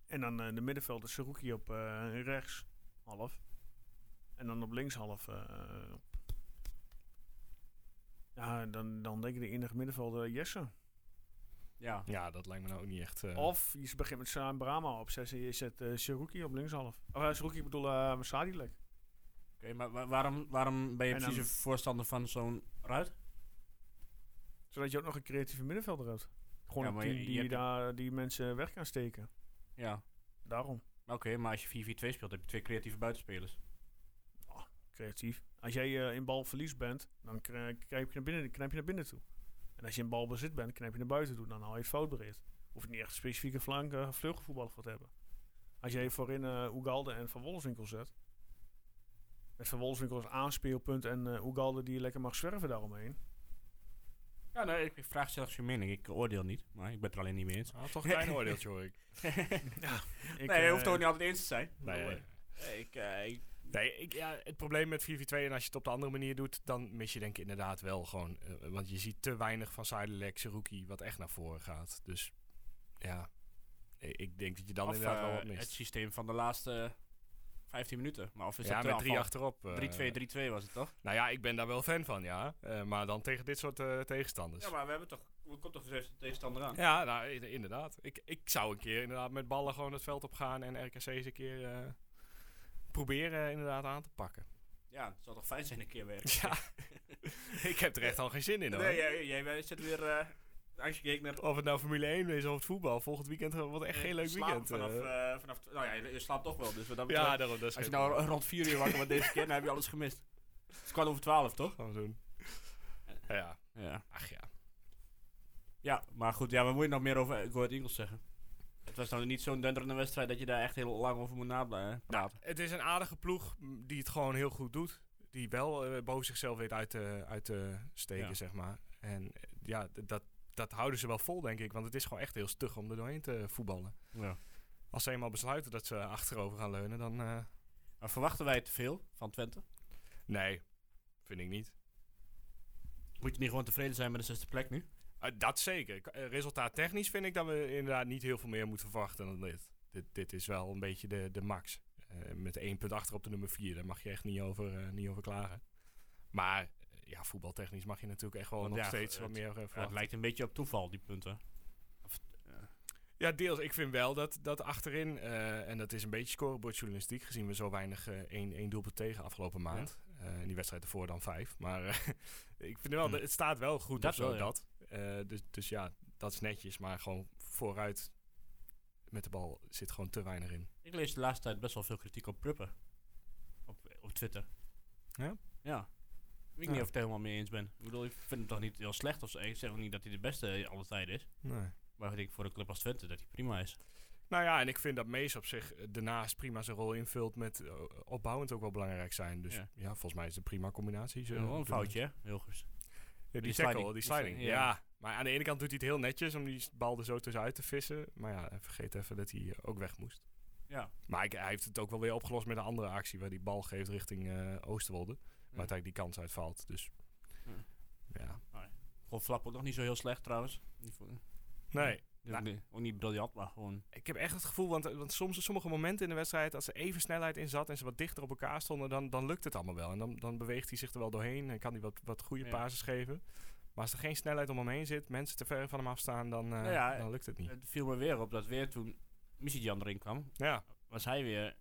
Speaker 2: En dan eh, de middenvelder Seruki op eh, rechts half. En dan op links half. eh, ja, dan, dan denk ik de enige middenvelder eh, Jesse.
Speaker 3: Ja.
Speaker 4: Ja, dat lijkt me nou ook niet echt... eh,
Speaker 2: Of je begint met Saam Brahma op 6 en je zet eh Seruki op links half. Of eh, Seruki, ik bedoel eh Sadi lek.
Speaker 3: Oké, maar wa- waarom, waarom ben je
Speaker 2: En dan-
Speaker 3: precies een voorstander van zo'n ruit?
Speaker 2: Zodat je ook nog een creatieve middenvelder hebt. Gewoon
Speaker 3: Ja,
Speaker 2: een
Speaker 3: maar je-
Speaker 2: team
Speaker 3: je
Speaker 2: die,
Speaker 3: hebt-
Speaker 2: daar, die mensen weg kan steken.
Speaker 3: Ja.
Speaker 2: Daarom.
Speaker 3: Oké, maar als je 4-4-2 speelt, heb je twee creatieve buitenspelers.
Speaker 2: creatief. Als jij eh, in balverlies bent, dan kri- knijp je, naar binnen, knijp je naar binnen toe. En als je in balbezit bent, knijp je naar buiten toe. Dan hou je het fout bereid. Hoef je niet echt een specifieke flank eh vleugelvoetballer voor te hebben. Als jij voorin eh Ugalde en Van Wolfswinkel zet. Met Van Wolfswinkel als aanspeelpunt en eh Ugalde die lekker mag zwerven daaromheen.
Speaker 3: Ja, nee, ik, ik vraag zelfs je mening. Ik oordeel niet, maar ik ben het er alleen niet mee eens.
Speaker 4: ah, toch een klein oordeeltje hoor ik.
Speaker 2: Ik,
Speaker 3: nee, je
Speaker 2: eh,
Speaker 3: hoeft het ook niet altijd eens te zijn.
Speaker 4: Nee,
Speaker 3: Maar, eh, ik, eh, ik-
Speaker 4: Nee, ik, ja, het probleem met 4-4-2 en als je het op de andere manier doet, dan mis je denk ik inderdaad wel gewoon. eh, want je ziet te weinig van Sidelek, Seruki, wat echt naar voren gaat. Dus ja, ik- ik denk dat je dan
Speaker 3: of,
Speaker 4: inderdaad wel
Speaker 3: eh,
Speaker 4: wat
Speaker 3: het
Speaker 4: mist.
Speaker 3: systeem van de laatste 15 minuten. Maar of is
Speaker 4: Ja,
Speaker 3: dat
Speaker 4: met drie
Speaker 3: Dus aanval?
Speaker 4: achterop. eh,
Speaker 3: 3-2, 3-2 was het toch?
Speaker 4: Nou ja, ik ben daar wel fan van, ja. Eh, maar dan tegen dit soort eh, tegenstanders.
Speaker 3: Ja,
Speaker 4: Ja,
Speaker 3: maar we hebben toch... We komt toch de tegenstander aan?
Speaker 4: nou, i- inderdaad. Ik, ik zou een keer inderdaad met ballen gewoon het veld op gaan en RKC eens een keer eh, proberen eh, inderdaad aan te pakken.
Speaker 3: Ja, het zou toch fijn zijn een keer weer.
Speaker 4: Ja, ik heb er echt al geen zin in hoor.
Speaker 3: Nee, jij, jij, jij zit weer... eh als je kijkt naar
Speaker 4: Of het nou Formule 1 is of het voetbal, volgend weekend eh, wordt echt geen leuk
Speaker 3: Slaap
Speaker 4: weekend.
Speaker 3: Vanaf,
Speaker 4: eh.
Speaker 3: eh, vanaf, nou ja, je, je slaapt toch wel. Dus wat dat
Speaker 4: ja,
Speaker 3: betreft-
Speaker 4: daarom. Dat is
Speaker 3: als je
Speaker 4: geen-
Speaker 3: nou rond 4 uur wakker wordt deze keer, dan heb je alles gemist. Het is kwart over 12, toch?
Speaker 4: gaan we doen. Ja,
Speaker 3: Ja.
Speaker 4: ach ja.
Speaker 3: ja, maar goed, ja, wat moet je nog meer over Go Ahead Eagles zeggen? Het was nou niet zo'n denderende wedstrijd dat je daar echt heel lang over moet nablijven.
Speaker 4: Nou, het is een aardige ploeg m, die het gewoon heel goed doet. Die wel eh, boven zichzelf weet uit te, uit te steken,
Speaker 3: Ja.
Speaker 4: zeg maar. En eh, ja, d- dat, dat houden ze wel vol, denk ik. Want het is gewoon echt heel stug om er doorheen te voetballen.
Speaker 3: Ja.
Speaker 4: Als ze eenmaal besluiten dat ze achterover gaan leunen, dan... eh,
Speaker 3: Maar verwachten wij te veel van Twente?
Speaker 4: nee, vind ik niet.
Speaker 3: Moet je niet gewoon tevreden zijn met de zesde plek nu?
Speaker 4: Eh, dat zeker. K- eh, Resultaat technisch vind ik dat we inderdaad niet heel veel meer moeten verwachten dan dit. Dit, dit is wel een beetje de, de max. Eh, met één punt achter op de nummer vier, daar mag je echt niet over, eh, niet over klagen. Maar eh, ja, voetbaltechnisch mag je natuurlijk echt wel
Speaker 3: Want
Speaker 4: nog
Speaker 3: ja,
Speaker 4: steeds
Speaker 3: het-
Speaker 4: wat meer eh,
Speaker 3: Ja, het
Speaker 4: verwachten.
Speaker 3: lijkt een beetje op toeval, die punten. Of, eh,
Speaker 4: Ja, deels. Ik vind wel dat, dat achterin, eh, en dat is een beetje scorebordjournalistiek, gezien we zo weinig eh, één, één doelpunt tegen afgelopen maand. Eh in die wedstrijd ervoor dan vijf. Maar eh, ik vind wel,
Speaker 3: Hm.
Speaker 4: dat het staat wel goed
Speaker 3: Dat
Speaker 4: of zo,
Speaker 3: wel, ja.
Speaker 4: dat. Eh, dus, dus ja, dat is netjes, maar gewoon vooruit met de bal zit gewoon te weinig in.
Speaker 3: ik lees de laatste tijd best wel veel kritiek op Pruppen. Op, op Twitter.
Speaker 4: Ja?
Speaker 3: Ja. Ik weet
Speaker 4: Ja.
Speaker 3: niet of ik het helemaal mee eens ben. Ik bedoel, ik vind hem toch niet heel slecht of zo. Ik zeg ook niet dat hij de beste alle tijden is. Maar ik denk voor een club als Twente dat hij prima is.
Speaker 4: Nou ja, en ik vind dat Mees op zich eh, daarnaast prima zijn rol invult met eh, opbouwend ook wel belangrijk zijn. Dus ja,
Speaker 3: Ja.
Speaker 4: volgens mij is het een prima combinatie. Zo,
Speaker 3: wel een foutje, hè? Heel goed.
Speaker 4: Ja, die,
Speaker 3: Die
Speaker 4: tackle,
Speaker 3: sliding.
Speaker 4: die
Speaker 3: Die
Speaker 4: sliding.
Speaker 3: sliding,
Speaker 4: ja.
Speaker 3: ja.
Speaker 4: maar aan de ene kant doet hij het heel netjes om die s- bal er zo tussenuit te vissen. Maar ja, vergeet even dat hij eh, ook weg moest.
Speaker 3: Ja.
Speaker 4: Maar ik- hij heeft het ook wel weer opgelost met een andere actie waar die bal geeft richting eh, Oosterwolde.
Speaker 3: Ja.
Speaker 4: Maar uiteindelijk die kans uitvalt. Dus
Speaker 3: Ja.
Speaker 4: ja.
Speaker 3: Gewoon Flap ook nog niet zo heel slecht trouwens. Niet voor-
Speaker 4: Nee,
Speaker 3: dus
Speaker 4: Nou.
Speaker 3: ook, niet, ook niet briljant, maar gewoon...
Speaker 4: ik heb echt het gevoel, want, eh, want soms sommige momenten in de wedstrijd, als er even snelheid in zat en ze wat dichter op elkaar stonden, dan, dan lukt het allemaal wel. En dan, dan beweegt hij zich er wel doorheen en kan hij wat, wat goede
Speaker 3: Ja.
Speaker 4: passes geven. Maar als er geen snelheid om hem heen zit, mensen te ver van hem afstaan, dan, eh,
Speaker 3: Nou ja,
Speaker 4: dan lukt het niet.
Speaker 3: Het viel me weer op dat weer toen Michijan erin kwam,
Speaker 4: Ja,
Speaker 3: was hij weer...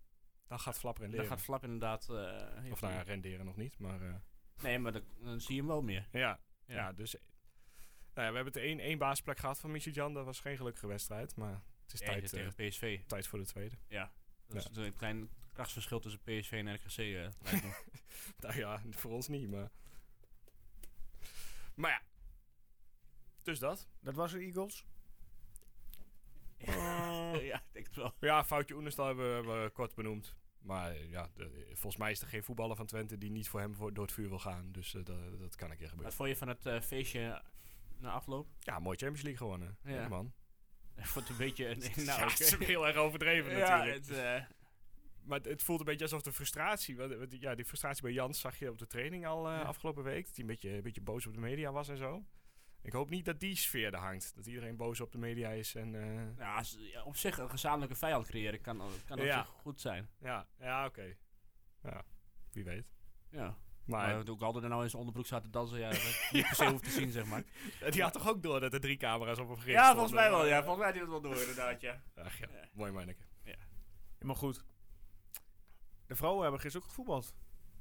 Speaker 4: dan gaat Flapper en
Speaker 3: Dan gaat Flap inderdaad... eh, heel
Speaker 4: Of nou ja,
Speaker 3: goed.
Speaker 4: renderen nog niet, maar... eh,
Speaker 3: nee, maar dan, dan zie je hem wel meer.
Speaker 4: ja, ja.
Speaker 3: Ja.
Speaker 4: dus... eh, Nou ja, we hebben het één, één baasplek gehad van Michijan. Dat was geen gelukkige wedstrijd, maar het is
Speaker 3: Ja,
Speaker 4: tijd, eh,
Speaker 3: tegen PSV.
Speaker 4: tijd voor de tweede.
Speaker 3: Ja. Dat
Speaker 4: Ja.
Speaker 3: is een klein krachtsverschil tussen PSV en RKC. eh, lijkt me.
Speaker 4: Nou ja, voor ons niet, maar... Maar ja. Dus dat.
Speaker 2: Dat was de Eagles.
Speaker 3: ja, ik denk het wel.
Speaker 4: Ja, foutje Oenestal hebben we eh, kort benoemd. Maar eh, ja, de- volgens mij is er geen voetballer van Twente die niet voor hem voor, door het vuur wil gaan. Dus eh, dat, dat kan een keer
Speaker 3: Wat
Speaker 4: gebeuren.
Speaker 3: vond je van het eh, feestje na afloop?
Speaker 4: Ja, mooi Champions League gewonnen.
Speaker 3: Ja.
Speaker 4: Ja, man.
Speaker 3: Ik vond het een beetje... een-
Speaker 4: ja,
Speaker 3: nou,
Speaker 4: het is
Speaker 3: oké.
Speaker 4: heel erg overdreven
Speaker 3: ja,
Speaker 4: natuurlijk.
Speaker 3: het, eh,
Speaker 4: Maar het- het voelt een beetje alsof de frustratie... want- want die- ja, die frustratie bij Jans zag je op de training al eh,
Speaker 3: Ja.
Speaker 4: afgelopen week. Dat hij een beetje, een beetje boos op de media was en zo. Ik hoop niet dat die sfeer er hangt. Dat iedereen boos op de media is. En, eh,
Speaker 3: nou, als- ja, op zich een gezamenlijke vijand creëren kan, al- kan op
Speaker 4: Ja.
Speaker 3: zich goed zijn.
Speaker 4: ja, ja oké. Ja, wie weet.
Speaker 3: Ja.
Speaker 4: Maar,
Speaker 3: Maar ook altijd er nou in zijn onderbroek zat te dansen, ja, dat ik niet per se hoeft te zien, zeg maar.
Speaker 4: eh, die had toch ook door dat er drie camera's op hem gericht
Speaker 3: Ja, volgens
Speaker 4: stonden?
Speaker 3: mij wel. Ja, volgens mij had hij dat wel door, inderdaad, ja.
Speaker 4: Ach ja,
Speaker 3: Ja.
Speaker 4: mooi manneke.
Speaker 2: Ja, maar goed. De vrouwen hebben gisteren ook gevoetbald.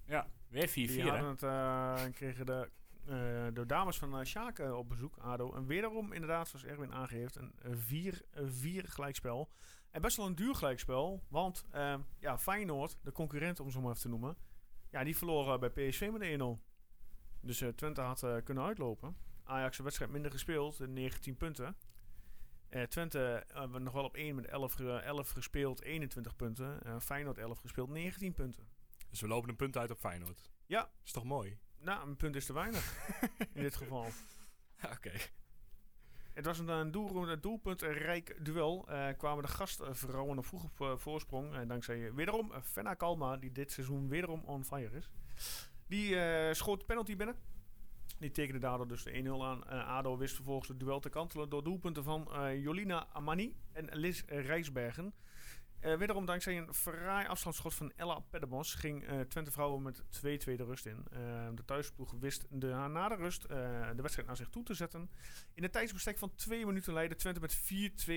Speaker 3: Ja, weer 4-4,
Speaker 2: Die
Speaker 3: hè?
Speaker 2: hadden het, eh, kregen de, eh, de dames van eh Sjaak eh, op bezoek, ADO. En wederom, inderdaad, zoals Erwin aangeeft, een eh, 4-4 gelijkspel. En best wel een duur gelijkspel, want eh, ja, Feyenoord, de concurrent om zo maar even te noemen, ja, die verloren bij PSV met 1-0. Dus eh, Twente had eh, kunnen uitlopen. Ajax een wedstrijd minder gespeeld, eh, 19 punten. Eh, Twente eh, we nog wel op 1 met 11, ge- 11 gespeeld, 21 punten. Eh, Feyenoord 11 gespeeld, 19 punten.
Speaker 4: Dus we lopen een punt uit op Feyenoord.
Speaker 2: Ja.
Speaker 4: Is toch mooi?
Speaker 2: Nou, een punt is te weinig in dit geval.
Speaker 4: Ja, oké.
Speaker 2: Het was een, eh, een doel, een doelpuntrijk duel. Eh kwamen de gastvrouwen nog vroeg op eh, voorsprong. En dankzij eh, wederom eh, Fenna Kalma, die dit seizoen wederom on fire is. Die eh, schoot de penalty binnen. Die tekende daardoor dus de 1-0 aan. Eh, ADO wist vervolgens het duel te kantelen door doelpunten van eh, Jolina Amani en Liz Rijsbergen. Eh, wederom dankzij een fraai afstandsschot van Ella Pedemos ging eh, Twente Vrouwen met 2-2 de rust in. Eh, de thuisploeg wist de, na de rust eh, de wedstrijd naar zich toe te zetten. In een tijdsbestek van twee minuten leidde Twente met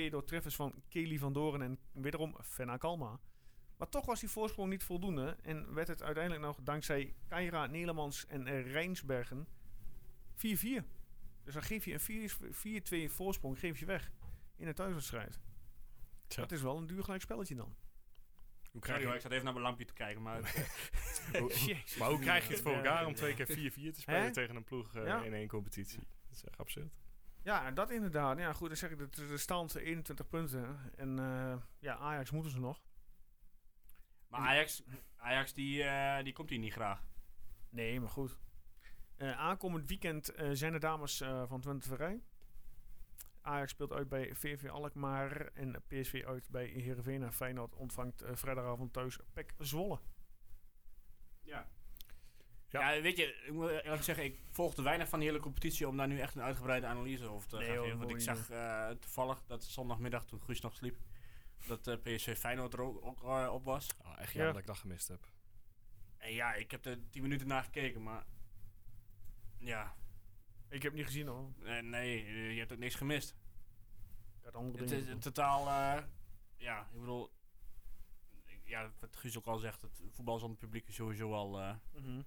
Speaker 2: 4-2 door treffers van Kelly van Doren en wederom Fenna Kalma. Maar toch was die voorsprong niet voldoende. En werd het uiteindelijk nog dankzij Keira, Nelemans en eh, Rijnsbergen 4-4. Dus dan geef je een 4-2 voorsprong geef je weg in een thuiswedstrijd.
Speaker 4: Tja.
Speaker 2: Dat is wel een duur gelijk spelletje dan.
Speaker 4: Hoe krijg
Speaker 3: Sorry
Speaker 4: je,
Speaker 3: hoor, ik zat even naar mijn lampje te kijken, maar het, eh,
Speaker 4: Jezus. maar hoe krijg je het voor
Speaker 2: Ja.
Speaker 4: elkaar om twee keer 4-4 te spelen
Speaker 2: Hè?
Speaker 4: tegen een ploeg eh,
Speaker 2: Ja.
Speaker 4: in één competitie? Dat is echt absurd.
Speaker 2: Ja, dat inderdaad. Ja, goed, dan zeg ik dat de stand 21 punten. En eh, ja, Ajax moeten ze nog.
Speaker 3: maar Ajax, Ajax die, eh, die komt hier niet graag.
Speaker 2: Nee, maar goed. Eh, aankomend weekend eh, zijn de dames eh, van Twente vrij. Ajax speelt uit bij VV Alkmaar en PSV uit bij Heerenveen. En Feyenoord ontvangt eh, vrijdagavond thuis PEC Zwolle.
Speaker 3: Ja.
Speaker 4: Ja.
Speaker 3: Ja. weet je, ik moet eerlijk zeggen, ik volgde weinig van de hele competitie om daar nu echt een uitgebreide analyse over te
Speaker 2: Nee,
Speaker 3: gaan
Speaker 2: hoor,
Speaker 3: geven. Want ik
Speaker 2: moet je
Speaker 3: zag eh, toevallig dat zondagmiddag, toen Guus nog sliep, dat eh, PSV Feyenoord er ook, ook, eh, op was.
Speaker 4: Ah, echt
Speaker 2: Ja.
Speaker 4: jammer dat ik dat gemist heb.
Speaker 3: En ja, ik heb er tien minuten naar gekeken, maar ja,
Speaker 2: Ik heb niet gezien hoor.
Speaker 3: eh, nee, eh, je hebt ook niks gemist.
Speaker 2: Ik had andere
Speaker 3: Het
Speaker 2: dingen
Speaker 3: is
Speaker 2: te doen.
Speaker 3: totaal, eh, ja, ik bedoel, ik- ja, wat Guus ook al zegt, het voetbal zonder publiek is sowieso al... eh,
Speaker 2: Mhm.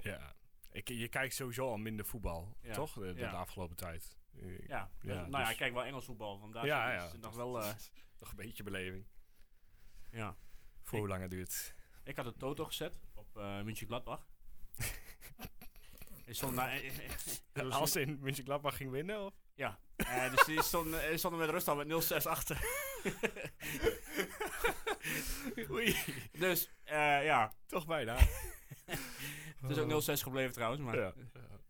Speaker 4: Ja. Ik, je kijkt sowieso al minder voetbal,
Speaker 3: Ja.
Speaker 4: toch? De, de- de
Speaker 3: Ja.
Speaker 4: afgelopen tijd. Eh,
Speaker 3: ja,
Speaker 4: Ja,
Speaker 3: nou ja,
Speaker 4: dus-
Speaker 3: ik kijk wel Engels voetbal, want daar
Speaker 4: Ja,
Speaker 3: zit-
Speaker 4: ja.
Speaker 3: zit nog wel... eh,
Speaker 4: Nog een beetje beleving.
Speaker 3: ja.
Speaker 4: Voor hoe lang het duurt.
Speaker 3: Ik had een toto gezet op eh München Gladbach. er stond daar- eh, eh,
Speaker 4: Als in Mönchengladbach ging winnen, of?
Speaker 3: eh, dus die stond, eh, stonden met rust al met 0-6 achter.
Speaker 4: Oei,
Speaker 3: Dus eh, ja,
Speaker 4: toch bijna.
Speaker 3: het is ook 0-6 gebleven trouwens. Maar. Ja,
Speaker 4: Oh. Ja.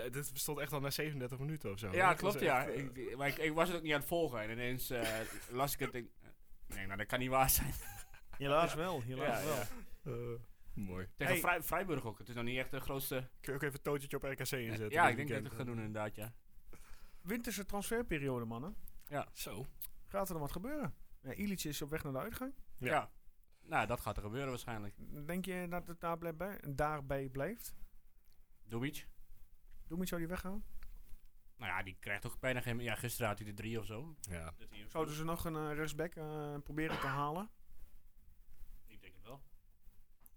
Speaker 4: Eh, eh, Dit bestond echt al na 37 minuten of zo. Dat
Speaker 3: klopt
Speaker 4: was
Speaker 3: ja.
Speaker 4: echt, eh,
Speaker 3: Ik, ik- maar ik, ik was het ook niet aan het volgen en ineens eh, las ik het. denk, eh, nee, nou dat kan niet waar zijn.
Speaker 2: Helaas wel, helaas
Speaker 3: Ja,
Speaker 2: wel.
Speaker 3: ja.
Speaker 4: eh, mooi.
Speaker 3: Tegen
Speaker 2: Hey.
Speaker 3: Vrij- Vrijburg ook. Het is nog niet echt de grootste...
Speaker 4: Kun je ook even een tootje op RKC inzetten?
Speaker 3: ja,
Speaker 4: dit
Speaker 3: ik denk dat ik
Speaker 4: weekend? eh.
Speaker 3: het ga doen inderdaad, ja.
Speaker 2: Winterse transferperiode mannen.
Speaker 4: Zo.
Speaker 2: Gaat er dan wat gebeuren? Ja, Illich is op weg naar de uitgang.
Speaker 4: Ja.
Speaker 3: ja. Nou, dat gaat er gebeuren waarschijnlijk.
Speaker 2: Denk je dat het daar blijft bij, daarbij blijft?
Speaker 3: Doebic.
Speaker 2: Doe iets zou die weggaan?
Speaker 3: Nou ja, die krijgt ook bijna geen... Ja, gisteren had hij de drie of zo.
Speaker 4: Ja.
Speaker 3: Dat hij-
Speaker 2: Zouden ze nog een eh, rechtsback eh, proberen te halen?
Speaker 3: Ik denk het wel.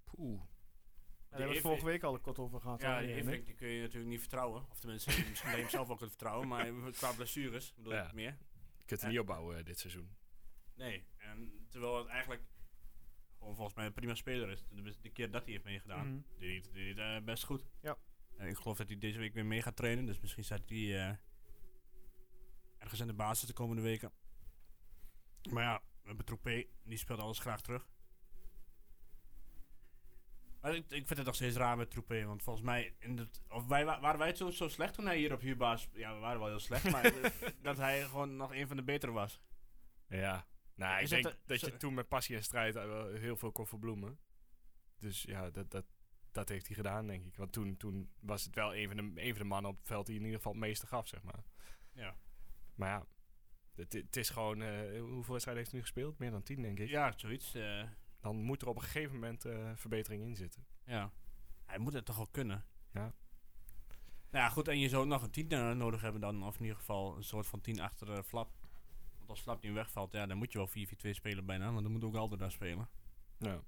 Speaker 4: Poeh.
Speaker 2: Daar hebben we het
Speaker 3: heeft-
Speaker 2: vorige week al kort over gehad. Mhm.
Speaker 3: Ja,
Speaker 2: hè,
Speaker 3: die
Speaker 2: Nick?
Speaker 3: Everink die kun je natuurlijk niet vertrouwen. Of tenminste, misschien ben je hem zelf ook het vertrouwen. Maar qua blessures bedoel
Speaker 4: Ja.
Speaker 3: ik meer.
Speaker 4: Je kunt er
Speaker 3: Ja.
Speaker 4: niet opbouwen eh, dit seizoen.
Speaker 3: Nee. En terwijl het eigenlijk gewoon volgens mij een prima speler is. De, de keer dat hij heeft meegedaan,
Speaker 2: Mhm.
Speaker 3: deed hij deed hij, eh, best goed.
Speaker 2: Ja.
Speaker 3: En ik geloof dat hij deze week weer mee gaat trainen. Dus misschien staat hij eh, ergens in de basis de komende weken. Maar ja, we hebben Troepé. Die speelt alles graag terug. Maar ik, ik vind het nog steeds raar met Troepé, want volgens mij... In het, of wij, wa- waren wij zo, zo slecht toen hij hier op huurbaas... Ja, we waren wel heel slecht, maar eh, dat hij gewoon nog een van de betere was.
Speaker 4: Ja. Nou, ik
Speaker 3: Is
Speaker 4: denk
Speaker 3: het
Speaker 4: dat,
Speaker 3: de- zo-
Speaker 4: je toen met passie en strijd eh, wel heel veel kon verbloemen. Dus ja, dat, dat, dat heeft hij gedaan, denk ik. Want toen, toen was het wel een van, de, een van de mannen op het veld die in ieder geval het meeste gaf, zeg maar.
Speaker 3: Ja.
Speaker 4: Maar ja, het, het is gewoon... eh, hoeveel wedstrijden heeft hij nu gespeeld? Meer dan tien, denk ik.
Speaker 3: Ja, zoiets. eh,
Speaker 4: Dan moet er op een gegeven moment eh, verbetering in zitten.
Speaker 3: ja. Hij moet het toch wel kunnen?
Speaker 4: Ja.
Speaker 3: Nou ja, goed, en je zou ook nog een tien eh, nodig hebben dan. Of in ieder geval een soort van tien achter eh, Flap. Want als Flap nu wegvalt, ja, dan moet je wel 4-4-2 spelen bijna. Want dan moet ook Alder daar spelen.
Speaker 4: Ja.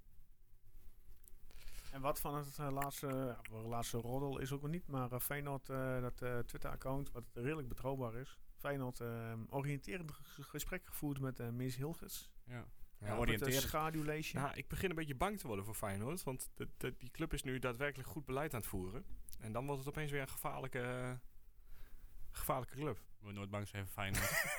Speaker 2: En wat van het eh, laatste, ja, wel, laatste roddel is ook wel niet, maar eh, Feyenoord, eh, dat eh, Twitter-account, wat redelijk betrouwbaar is. Feyenoord eh, oriënterend ge- gesprek gevoerd met eh Mees Hilgers.
Speaker 3: Ja.
Speaker 4: Ja,
Speaker 2: Op het eh,
Speaker 3: oriënterend.
Speaker 2: schaduwlijstje.
Speaker 4: Nou, ik begin een beetje bang te worden voor Feyenoord. Want de, de- die club is nu daadwerkelijk goed beleid aan het voeren. En dan wordt het opeens weer een gevaarlijke, eh, gevaarlijke club.
Speaker 3: Moet nooit bang zijn voor Feyenoord.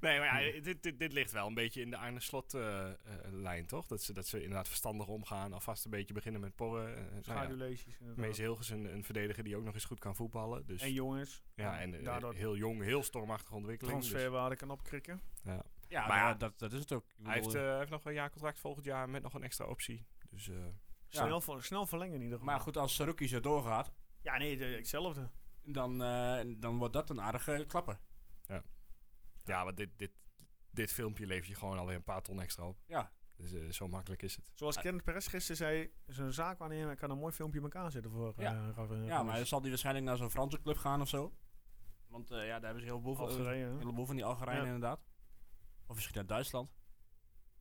Speaker 4: Nee, maar ja, dit, dit, dit ligt wel een beetje in de Arne Slot-lijn, toch? Dat ze, dat ze inderdaad verstandig omgaan. Alvast een beetje beginnen met porren. eh, nou ja.
Speaker 2: Schaduwlijstjes inderdaad.
Speaker 4: Mees Hilgers, een, een verdediger die ook nog eens goed kan voetballen. Dus,
Speaker 2: En jongens,
Speaker 4: ja, en eh,
Speaker 2: daardoor-
Speaker 4: heel jong, heel stormachtige ontwikkeling. dus-
Speaker 2: transferwaarde kan opkrikken.
Speaker 3: ja, maar
Speaker 4: Maar ja,
Speaker 3: ja, dat, dat is het ook. Ik
Speaker 4: hij heeft,
Speaker 3: bedoel,
Speaker 4: eh, heeft nog een jaarcontract volgend jaar met nog een extra optie. Dus eh,
Speaker 3: Ja.
Speaker 2: Snel, ver- snel verlengen in ieder geval.
Speaker 3: eh, maar goed, als Saruki zo doorgaat,
Speaker 2: Ja, nee, de- hetzelfde.
Speaker 3: dan, eh, dan wordt dat een aardige klapper.
Speaker 4: ja, want dit, dit, dit filmpje levert je gewoon alweer een paar ton extra op.
Speaker 3: Ja.
Speaker 4: Dus eh, zo makkelijk is het.
Speaker 2: Zoals Kenneth Perez gisteren zei, zo'n zaakwaarnemer kan een mooi filmpje in elkaar zetten voor
Speaker 3: Ja.
Speaker 2: eh, Rafa-
Speaker 3: Ja, maar dan zal die waarschijnlijk naar zo'n Franse club gaan of zo. Want eh, ja, daar hebben ze heel veel eh,
Speaker 2: Algerije, hè?
Speaker 3: Een heleboel van die Algerijnen
Speaker 2: Ja.
Speaker 3: inderdaad. Of misschien naar Duitsland.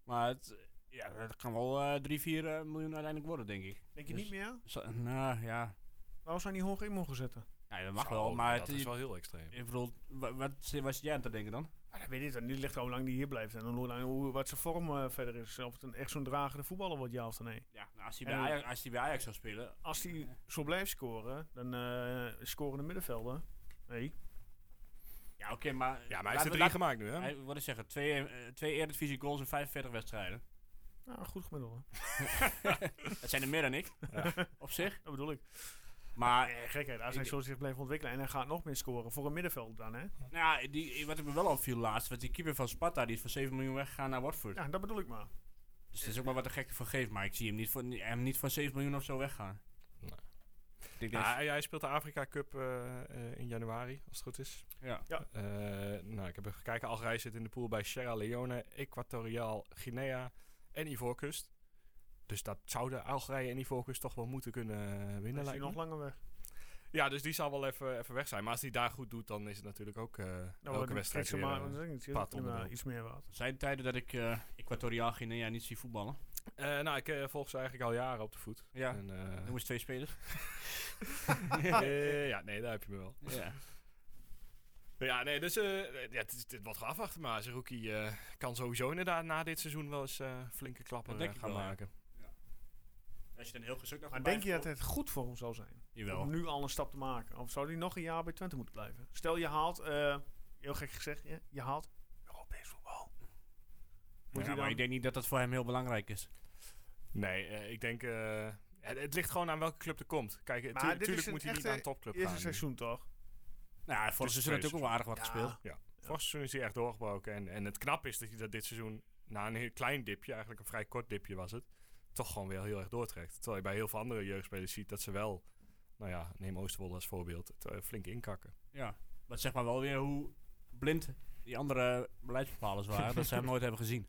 Speaker 3: Maar het, Ja, dat kan wel eh 3, 4 eh, miljoen uiteindelijk worden, denk ik.
Speaker 2: Denk je
Speaker 3: Dus-
Speaker 2: niet meer?
Speaker 3: Zo- nou ja.
Speaker 2: Waarom zou hij hoog in mogen zetten?
Speaker 3: ja, dat mag
Speaker 4: Zo, oh,
Speaker 3: wel, maar
Speaker 4: dat
Speaker 3: het-
Speaker 4: is wel heel extreem.
Speaker 3: ik bedoel, wa- wat, zit- wat zit jij aan te denken dan?
Speaker 2: Ah, dat weet ik dan. Dit ligt aan hoe lang die hier blijft. En dan hoe lang, hoe, wat zijn vorm eh, verder is. Of het een, echt zo'n dragende voetballer wordt, ja of nee.
Speaker 3: Ja, nou, als hij
Speaker 2: En-
Speaker 3: bij Ajax, als hij bij Ajax zou spelen,
Speaker 2: Als hij zo blijft scoren, dan eh, scoren de middenvelden. Nee.
Speaker 3: ja oké, maar...
Speaker 4: Ja, maar hij heeft er
Speaker 3: laten we-
Speaker 4: drie gemaakt nu, hè?
Speaker 3: Hij, wat ik zeggen, twee, eh, twee Eredivisie goals in 45 wedstrijden.
Speaker 2: Nou, goed gemiddeld. hè.
Speaker 3: Dat zijn er meer dan ik, op zich.
Speaker 2: Dat bedoel ik.
Speaker 4: Ah,
Speaker 3: Maar
Speaker 2: Eh, gekheid, als hij
Speaker 3: Ik-
Speaker 2: zo zich blijft ontwikkelen en hij gaat nog meer scoren voor een middenveld dan, hè?
Speaker 3: nou, ja, die, wat ik me wel opviel laatst, was die keeper van Sparta, die is voor 7 miljoen weggegaan naar Watford.
Speaker 2: Ja, dat bedoel ik maar.
Speaker 3: Dus het is ook maar wat de gekte van geeft, maar ik zie hem niet voor, hem niet voor 7 miljoen of zo weggaan.
Speaker 4: Nee.
Speaker 3: Ik denk,
Speaker 4: Nou, hij, hij speelt de Afrika Cup eh, eh, in januari, als het goed is.
Speaker 3: ja.
Speaker 4: Eh, nou, ik heb even gekeken. Algerije zit in de pool bij Sierra Leone, Equatoriaal Guinea en Ivoorkust. Dus dat zouden Algerije en Ivoorkust toch wel moeten kunnen eh,
Speaker 2: Dan
Speaker 4: winnen,
Speaker 2: is hij
Speaker 4: lijkt
Speaker 2: nog
Speaker 4: me.
Speaker 2: langer weg.
Speaker 4: Ja, dus die zal wel even, even weg zijn. Maar als hij daar goed doet, dan is het natuurlijk ook
Speaker 3: Nou,
Speaker 4: eh elke
Speaker 2: Nou, dan
Speaker 4: wedstrijd
Speaker 2: krijgt
Speaker 4: weer...
Speaker 2: ze maar,
Speaker 4: eh,
Speaker 2: dan zeg ik, het,
Speaker 4: pad
Speaker 2: het is maar
Speaker 4: onderdeel.
Speaker 2: iets meer waard.
Speaker 3: Er zijn tijden dat ik eh Equatoriaal Guinea niet zie voetballen.
Speaker 4: eh, nou, ik eh, volg ze eigenlijk al jaren op de voet.
Speaker 3: Ja.
Speaker 4: En, eh,
Speaker 3: Noem eens twee spelers.
Speaker 4: eh, ja, nee, daar heb je me wel.
Speaker 3: ja.
Speaker 4: Ja, nee, dus eh, ja, het, is- dit wordt gewoon afwachten. Maar Zerouki eh, kan sowieso inderdaad na dit seizoen wel eens eh, flinke klappen
Speaker 3: Dat denk
Speaker 4: eh,
Speaker 3: ik
Speaker 4: gaan
Speaker 3: wel, ja.
Speaker 4: maken.
Speaker 3: Als je dan heel gezond nog
Speaker 2: Maar denk je dat eh, het goed voor hem zou zijn? Om
Speaker 3: Jawel.
Speaker 2: nu al een stap te maken. Of zou hij nog een jaar bij Twente moeten blijven? Stel je haalt, eh, heel gek gezegd, je, je haalt Europees voetbal. Moet
Speaker 3: Ja,
Speaker 2: hij dan-
Speaker 3: maar ik denk niet dat dat voor hem heel belangrijk is.
Speaker 4: Nee, eh, ik denk... eh, het, het ligt gewoon aan welke club er komt. Kijk,
Speaker 2: Maar dit is
Speaker 4: natuurlijk
Speaker 2: een
Speaker 4: moet hij niet
Speaker 2: echte
Speaker 4: naar een topclub gaan.
Speaker 2: Eerste seizoen toch?
Speaker 3: Nou, vorig
Speaker 4: tweede
Speaker 3: seizoen natuurlijk ook wel aardig wat gespeeld.
Speaker 4: Vorig seizoen is hij echt doorgebroken. En, en het knap is dat hij dat dit seizoen, na een heel klein dipje, eigenlijk een vrij kort dipje was het, toch gewoon weer heel erg doortrekt. Terwijl je bij heel veel andere jeugdspelers ziet dat ze wel, nou ja, neem Oosterwolde als voorbeeld, het, eh, flink inkakken.
Speaker 3: Ja, maar zeg maar wel weer hoe blind die andere beleidsbepalers waren, dat ze hem nooit hebben gezien.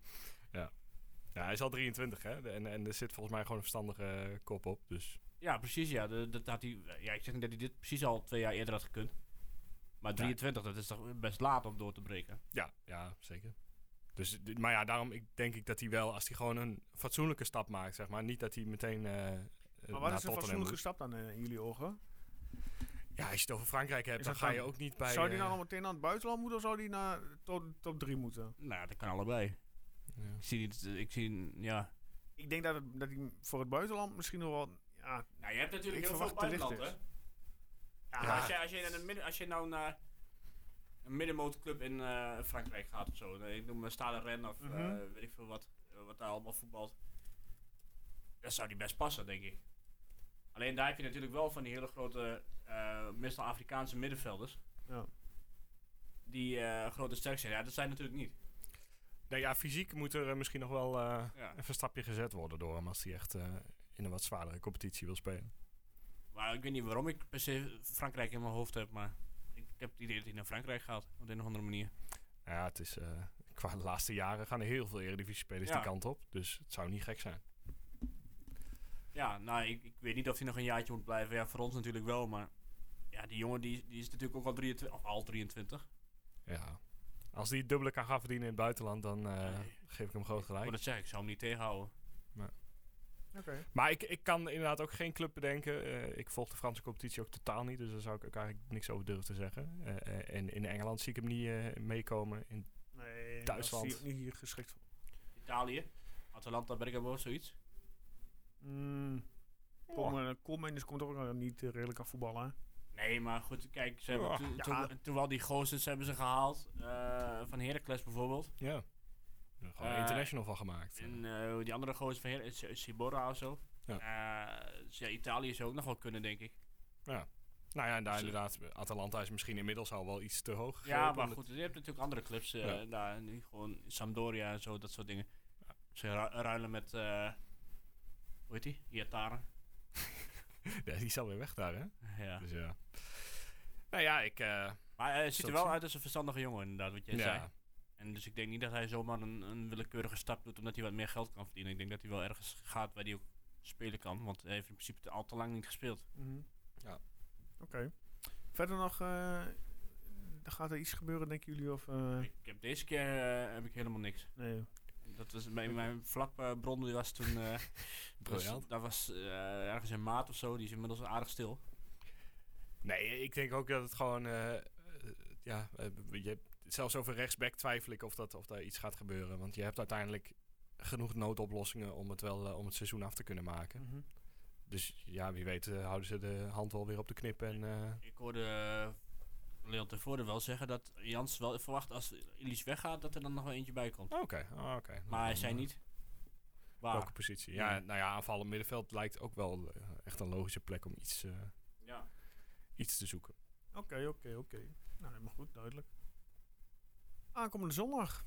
Speaker 4: Ja, hij is al 23, hè? En, en er zit volgens mij gewoon een verstandige eh, kop op. Dus
Speaker 3: Ja, precies. Ja, de- dat had hij, ja, ik zeg niet dat hij dit precies al twee jaar eerder had gekund. Maar 23, dat is toch best laat om door te breken.
Speaker 4: ja, ja zeker. Dus, dit- maar ja, daarom ik, denk ik dat hij wel, als hij gewoon een fatsoenlijke stap maakt, zeg maar, niet dat hij meteen. eh,
Speaker 2: Maar
Speaker 4: naar
Speaker 2: wat is een
Speaker 4: Tottenham
Speaker 2: fatsoenlijke
Speaker 4: moet.
Speaker 2: stap dan eh, in jullie ogen?
Speaker 4: Ja, als je het over Frankrijk hebt,
Speaker 2: Is
Speaker 4: dan
Speaker 2: dat
Speaker 4: ga
Speaker 2: dan-
Speaker 4: je ook niet bij.
Speaker 2: zou nou hij
Speaker 4: eh,
Speaker 2: dan al meteen naar het buitenland moeten of zou hij naar top, top 3 moeten?
Speaker 3: Nou, dat kan allebei.
Speaker 4: ja.
Speaker 3: Ik zie niet, ik zie, ja.
Speaker 2: Ik denk dat, het, dat hij voor het buitenland misschien nog wel... Ja,
Speaker 3: Nou, je hebt natuurlijk
Speaker 2: Ik
Speaker 3: heel veel
Speaker 2: verwacht te licht
Speaker 3: buitenland, hè? Ja,
Speaker 2: Ja.
Speaker 3: Als, je, als, je naar de midden, als je nou naar een middenmotorclub in eh, Frankrijk gaat of zo, eh, ik noem maar Stade Rennes of eh,
Speaker 2: Mhm.
Speaker 3: weet ik veel wat, eh, wat daar allemaal voetbalt, dat zou die best passen, denk ik. Alleen daar heb je natuurlijk wel van die hele grote, eh, meestal Afrikaanse middenvelders,
Speaker 2: Ja.
Speaker 3: die eh, grote sterk zijn. Ja, dat zijn natuurlijk niet.
Speaker 4: Nee, ja, fysiek moet er eh, misschien nog wel eh,
Speaker 3: Ja.
Speaker 4: even een stapje gezet worden door hem als hij echt eh, in een wat zwaardere competitie wil spelen.
Speaker 3: Maar ik weet niet waarom ik per se Frankrijk in mijn hoofd heb, maar ik heb het idee dat hij naar Frankrijk gaat, op de een of andere manier.
Speaker 4: Nou ja, het is, eh, qua de laatste jaren gaan er heel veel eredivisie-spelers
Speaker 3: Ja.
Speaker 4: die kant op. Dus het zou niet gek zijn.
Speaker 3: Ja, nou, ik, ik weet niet of hij nog een jaartje moet blijven. Ja, voor ons natuurlijk wel, maar... Ja, die jongen die, die is natuurlijk ook al 23. Of al 23.
Speaker 4: Ja. Als hij het dubbele kan gaan verdienen in het buitenland, dan eh,
Speaker 3: Nee.
Speaker 4: geef ik hem groot
Speaker 3: Maar
Speaker 4: gelijk.
Speaker 3: dat zeg ik, ik zou hem niet tegenhouden.
Speaker 2: oké.
Speaker 4: Maar ik, ik kan inderdaad ook geen club bedenken. Eh, ik volg de Franse competitie ook totaal niet, dus daar zou ik ook eigenlijk niks over durven te zeggen. Eh, eh, en in Engeland zie ik hem niet eh, meekomen. In,
Speaker 2: Nee,
Speaker 4: Duitsland.
Speaker 2: dat is hij ook niet hier geschikt voor.
Speaker 3: Italië, Atalanta, Bergamo, zoiets.
Speaker 2: Mm.
Speaker 4: Oh.
Speaker 2: eh, Koolmeiners komt ook nog niet eh, redelijk aan voetballen. hè?
Speaker 3: Nee, maar goed, kijk, ze hebben
Speaker 4: Ja.
Speaker 3: toen-
Speaker 2: Ja.
Speaker 3: toen, toen wel die gozers hebben ze gehaald. eh, van Heracles bijvoorbeeld.
Speaker 4: ja. Gewoon
Speaker 3: Eh,
Speaker 4: international van gemaakt.
Speaker 3: En eh, die andere gozer van Her S- Sibora of zo.
Speaker 4: Ja.
Speaker 3: Eh, dus ja, Italië zou ook nog wel kunnen, denk ik.
Speaker 4: Nou ja, en daar
Speaker 3: Dus, eh,
Speaker 4: inderdaad, Atalanta is misschien inmiddels al wel iets te hoog. eh, gegrepen,
Speaker 3: Ja, maar
Speaker 4: omdat-
Speaker 3: goed, je hebt natuurlijk andere clubs. eh,
Speaker 4: Ja.
Speaker 3: daar, nu gewoon Sampdoria en zo, dat soort dingen. Ze ru- ruilen met, eh hoe heet die? Iataren.
Speaker 4: Ja, die is alweer weg daar, hè?
Speaker 3: Ja.
Speaker 4: Dus ja. Nou ja, ik... eh,
Speaker 3: Maar eh, het ziet er
Speaker 4: Zult
Speaker 3: wel
Speaker 4: zien.
Speaker 3: uit als een verstandige jongen, inderdaad, wat jij zei.
Speaker 4: ja.
Speaker 3: En dus ik denk niet dat hij zomaar een, een willekeurige stap doet, omdat hij wat meer geld kan verdienen. Ik denk dat hij wel ergens gaat waar hij ook spelen kan, want hij heeft in principe te- al te lang niet gespeeld.
Speaker 2: Mhm.
Speaker 4: Ja.
Speaker 2: Oké. Verder nog, eh, gaat er iets gebeuren, denken jullie? Of, eh,
Speaker 3: Ik heb deze keer eh, heb ik helemaal niks.
Speaker 2: nee.
Speaker 3: Ik Dat was mijn, mijn vlakbron die was toen... eh,
Speaker 4: Briljant.
Speaker 3: was- Dat was eh, ergens in maat of zo. Die is inmiddels aardig stil.
Speaker 4: Nee, ik denk ook dat het gewoon... eh, eh, ja, eh, je hebt, zelfs over rechtsback twijfel ik of, dat, of daar iets gaat gebeuren. Want je hebt uiteindelijk genoeg noodoplossingen om het, wel, eh, om het seizoen af te kunnen
Speaker 3: Hm.
Speaker 4: maken.
Speaker 2: Mhm.
Speaker 4: Dus ja, wie weet eh, houden ze de hand wel weer op de knip. En, eh,
Speaker 3: Ik hoorde eh Leon Tevoorde wel zeggen dat Jans wel verwacht als Ilies weggaat dat er dan nog wel eentje bij komt.
Speaker 4: oh, Oké, oh, oké. Nou,
Speaker 3: Maar hij
Speaker 4: dan,
Speaker 3: zei
Speaker 4: eh,
Speaker 3: niet
Speaker 4: Welke
Speaker 3: waar.
Speaker 4: positie? Ja,
Speaker 3: Ja.
Speaker 4: nou ja, aanvallen middenveld lijkt ook wel eh, echt een logische plek om iets, eh,
Speaker 3: Ja.
Speaker 4: iets te zoeken.
Speaker 2: Oké, oké, oké. Nou, helemaal goed, duidelijk. Aankomende zondag.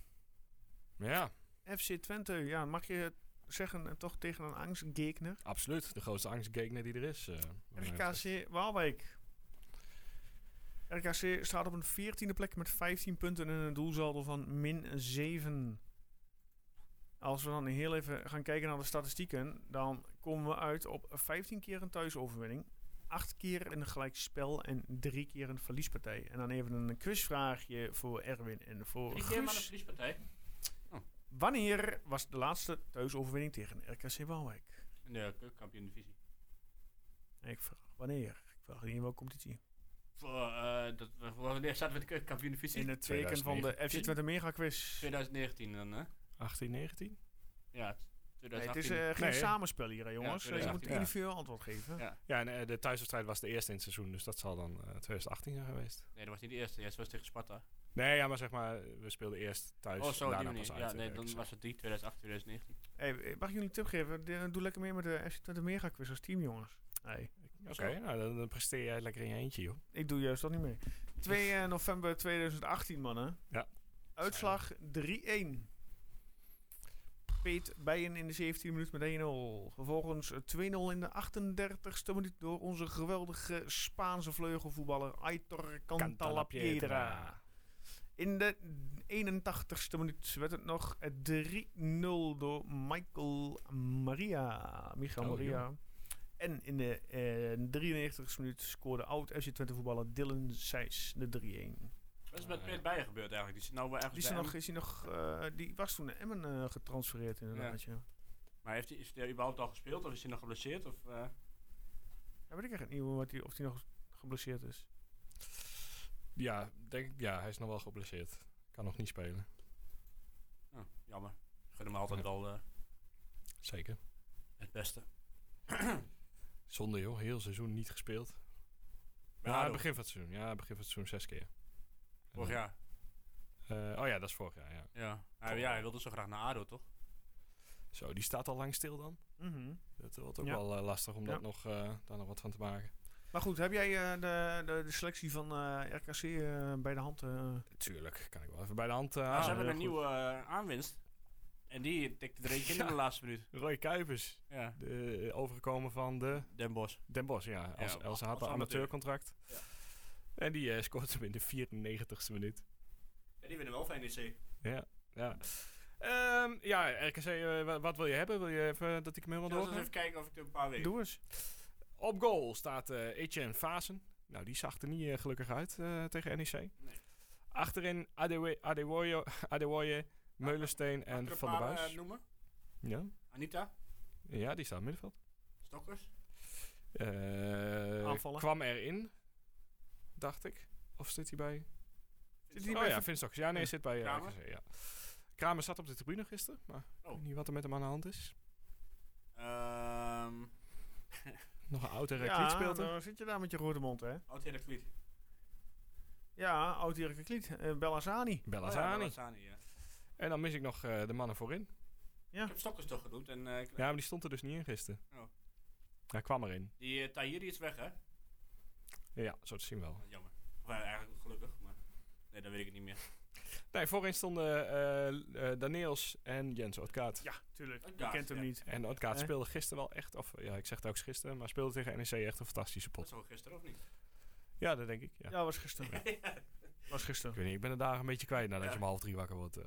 Speaker 4: Maar ja,
Speaker 2: FC Twente. Ja, mag je zeggen, eh, toch tegen een angstgegner?
Speaker 4: absoluut. De grootste angstgegner die er is. eh, wat mij betreft.
Speaker 2: RKC Waalwijk. RKC staat op een 14e plek met 15 punten en een doelsaldo van min 7. Als we dan heel even gaan kijken naar de statistieken, dan komen we uit op 15 keer een thuisoverwinning, 8 keer een gelijkspel en 3 keer een verliespartij. En dan even een quizvraagje voor Erwin en voor
Speaker 3: Ik neem aan de
Speaker 2: Oh, Guus.
Speaker 3: verliespartij.
Speaker 2: Wanneer was de laatste thuisoverwinning tegen RKC Waalwijk?
Speaker 3: In de keukenkampioen divisie.
Speaker 2: Ik vraag wanneer. Ik vraag niet in welke competitie.
Speaker 3: Voor, eh dat, we- wanneer zaten we in de keukenkampioen divisie?
Speaker 2: In het teken van de FC Twente Mega Quiz.
Speaker 3: 2019 dan, hè?
Speaker 4: 18, 19?
Speaker 3: Ja,
Speaker 2: Nee, het
Speaker 3: 2018.
Speaker 2: is eh, geen
Speaker 4: Nee.
Speaker 2: samenspel hier, hè, jongens.
Speaker 3: Ja,
Speaker 2: Eh, je moet
Speaker 3: 2018, ja.
Speaker 2: individueel antwoord geven.
Speaker 3: Ja.
Speaker 4: Ja, en eh, de thuiswedstrijd was de eerste in het seizoen, dus dat zal dan eh, 2018 zijn geweest.
Speaker 3: nee, dat was niet de eerste. De eerste was tegen Sparta.
Speaker 4: Nee, ja, maar zeg maar, we speelden eerst thuis.
Speaker 3: oh, zo, die
Speaker 4: daarna
Speaker 3: manier.
Speaker 4: pas uit.
Speaker 3: Ja,
Speaker 4: eh,
Speaker 3: nee, dan
Speaker 4: ergens.
Speaker 3: was het die 2018, 2019.
Speaker 2: Hey, eh, mag ik jullie een tip geven? De- Doe lekker mee met de FC Twente Mega Quiz als team, jongens. Hey,
Speaker 4: Oké, nou, dan, dan presteer jij lekker in je eentje, joh.
Speaker 2: ik doe juist dat niet mee. 2 eh, november 2018, mannen.
Speaker 4: Ja.
Speaker 2: Uitslag 3-1. Peet Bijen in de 17e minuut met 1-0. Vervolgens eh, 2-0 in de 38e minuut door onze geweldige Spaanse vleugelvoetballer Aitor Cantalapiedra. In de 81ste minuut werd het nog eh, 3-0 door Michael Maria. Michael
Speaker 4: Oh,
Speaker 2: Maria. En in de eh 93ste minuut scoorde oud FC Twente voetballer Dylan Seys de 3-1.
Speaker 3: Wat is
Speaker 4: Ah,
Speaker 3: met
Speaker 4: ja.
Speaker 3: Peter Bijen gebeurd eigenlijk? Die zit nou wel ergens
Speaker 2: Die, is er
Speaker 3: bij
Speaker 2: nog,
Speaker 3: hem.
Speaker 2: is die, nog, eh, die was toen naar Emmen eh, getransfereerd inderdaad. Ja.
Speaker 3: Maar heeft hij, is hij überhaupt al gespeeld? Of is hij nog geblesseerd? Of, eh,
Speaker 2: Ja, weet ik echt niet hoe- wat die, of die nog geblesseerd is.
Speaker 4: Ja, denk ik, ja, hij is nog wel geblesseerd. Kan nog niet spelen,
Speaker 3: oh, jammer. Ik gun hem altijd
Speaker 4: Ja.
Speaker 3: wel eh,
Speaker 4: zeker.
Speaker 3: het beste.
Speaker 4: Zonde, joh, heel seizoen niet gespeeld.
Speaker 3: Maar
Speaker 4: Ja,
Speaker 3: Ado,
Speaker 4: begin van het seizoen. Ja, begin van het seizoen zes keer.
Speaker 3: Vorig jaar.
Speaker 4: Eh, oh ja, dat is vorig jaar, ja.
Speaker 3: Ja. Hij, ja, hij wilde zo graag naar ADO, toch?
Speaker 4: Zo, die staat al lang stil dan.
Speaker 2: Mhm.
Speaker 4: Dat wordt ook
Speaker 2: Ja.
Speaker 4: wel eh, lastig om
Speaker 2: Ja.
Speaker 4: dat nog, eh, daar nog wat van te maken.
Speaker 2: Maar goed, heb jij eh, de, de, de selectie van eh, RKC eh, bij de hand? eh?
Speaker 4: Tuurlijk, kan ik wel even bij de hand eh,
Speaker 3: Maar ze
Speaker 4: halen.
Speaker 3: hebben een
Speaker 4: Heel
Speaker 3: nieuwe eh, aanwinst. En die tikte er eentje in
Speaker 4: Ja.
Speaker 3: de laatste minuut.
Speaker 4: goed. Roy Kuipers,
Speaker 3: Ja.
Speaker 4: de, eh, overgekomen van de
Speaker 3: Den Bosch.
Speaker 4: Den Bosch, ja. Als,
Speaker 3: Ja,
Speaker 4: als,
Speaker 3: als
Speaker 4: ze had een
Speaker 3: amateur.
Speaker 4: amateurcontract.
Speaker 3: Ja.
Speaker 4: En die eh, scoort hem in de 94ste minuut.
Speaker 3: Ja, die winnen wel van NEC.
Speaker 4: Ja, ja. Ehm, ja, RKC, eh, wa- wat wil je hebben? Wil je even dat ik hem helemaal
Speaker 3: Ik zal
Speaker 4: door?
Speaker 3: eens even kijken of ik er een paar weet.
Speaker 2: Doe eens.
Speaker 4: Op goal staat eh Etienne Fasen. Nou, die zag er niet eh, gelukkig uit eh, tegen NEC. Achterin Adewe- Adewoyo- Adewoye, Meulensteen en
Speaker 3: Mag ik er
Speaker 4: Van der
Speaker 3: een paar,
Speaker 4: Buis.
Speaker 3: eh, noemen?
Speaker 4: ja.
Speaker 3: Anita,
Speaker 4: ja, die staat in het middenveld.
Speaker 3: Stokkers.
Speaker 4: Eh,
Speaker 2: Aanvallen.
Speaker 4: Kwam erin, dacht ik. Of zit hij bij...
Speaker 2: Zit
Speaker 4: oh
Speaker 2: die bij
Speaker 4: ja, Vinstox. Ja, nee,
Speaker 2: Ja.
Speaker 4: zit bij eh,
Speaker 3: Kramer?
Speaker 4: RKC, ja. Kramer zat op de tribune gisteren, maar ik
Speaker 3: Oh.
Speaker 4: weet niet wat er met hem aan de hand is.
Speaker 3: Ehm
Speaker 4: Nog een oude
Speaker 2: Ja,
Speaker 4: recliet speelt er.
Speaker 2: dan zit je daar met je rode mond, hè?
Speaker 3: oud Heraklid.
Speaker 2: Ja, oud-Dirk Kliet, eh Bellasani.
Speaker 4: Bellazzani.
Speaker 3: Lazani, Oh ja.
Speaker 4: en dan mis ik nog eh, de mannen voorin.
Speaker 3: Ik heb Stokkers toch genoemd. En eh, ik-
Speaker 4: Ja, maar die stond er dus niet in gisteren.
Speaker 3: Oh.
Speaker 4: Hij kwam erin.
Speaker 3: die eh, Tahiri is weg, hè?
Speaker 4: Ja, zo te zien wel.
Speaker 3: Ah, Jammer. Of eh, eigenlijk gelukkig, maar... Nee, dat weet ik niet meer.
Speaker 4: Nee, voorin stonden eh eh, Daniels en Jens Otkaat.
Speaker 2: Ja, tuurlijk. Je
Speaker 3: Ja,
Speaker 2: kent hem
Speaker 3: ja.
Speaker 2: niet.
Speaker 4: En Otkaat
Speaker 2: Eh?
Speaker 4: speelde gisteren wel echt, of ja, ik zeg het ook eens gisteren, maar speelde tegen NEC echt een fantastische
Speaker 3: Dat
Speaker 4: pot.
Speaker 3: zo gisteren, of niet?
Speaker 4: Ja, dat denk ik. Ja.
Speaker 2: Ja, was gisteren. was
Speaker 4: Ik
Speaker 2: gisteren.
Speaker 4: weet niet, ik ben de dagen een beetje kwijt nadat
Speaker 3: Ja.
Speaker 4: je om half drie wakker wordt. eh.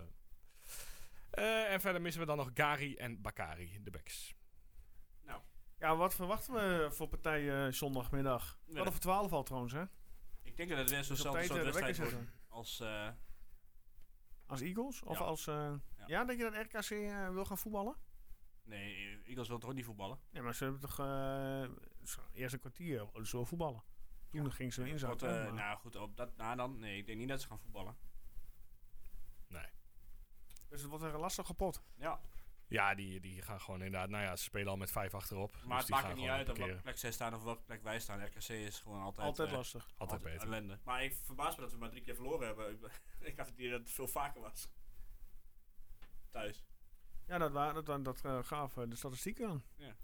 Speaker 4: Eh, en verder missen we dan nog Gari en Bakari, de backs.
Speaker 2: Ja, wat verwachten we voor partij eh, zondagmiddag?
Speaker 3: Ja.
Speaker 2: Wat over 12 al trouwens, hè?
Speaker 3: Ik denk dat het weer
Speaker 2: Dus op
Speaker 3: zo'nzelfde
Speaker 2: tijd, eh,
Speaker 3: soort
Speaker 2: de wekker
Speaker 3: wedstrijd wordt
Speaker 2: zetten.
Speaker 3: als... eh
Speaker 2: Als Eagles? Of
Speaker 3: Ja.
Speaker 2: als... eh,
Speaker 3: Ja.
Speaker 2: ja. dat je dat RKC eh, wil gaan voetballen?
Speaker 3: Nee, Eagles wil toch niet voetballen?
Speaker 2: Nee, maar ze hebben toch... eh, ze- eerst een kwartier wilden ze wel voetballen. Toen ging ze in
Speaker 3: Wordt,
Speaker 2: zakken.
Speaker 3: eh, nou goed, op dat, na dan, nee, ik denk niet dat ze gaan voetballen.
Speaker 2: Dus het wordt een lastige pot.
Speaker 3: Ja,
Speaker 4: Ja, die, die gaan gewoon inderdaad... Nou ja, ze spelen al met 5-8 erop. dus
Speaker 3: maar het
Speaker 4: die
Speaker 3: maakt
Speaker 4: gaan
Speaker 3: het niet
Speaker 4: gewoon
Speaker 3: uit op welke
Speaker 4: parkeren.
Speaker 3: plek zij staan of op welke plek wij staan. RKC is gewoon altijd...
Speaker 2: Altijd
Speaker 3: eh,
Speaker 2: lastig.
Speaker 4: Altijd beter.
Speaker 3: ellende. Maar ik verbaas me dat we maar drie keer verloren hebben. Ik ben- ik had het idee dat het veel vaker was. Thuis.
Speaker 2: Ja, dat, wa- dat, wa- dat eh, gaf eh, de statistieken aan.
Speaker 3: Ja.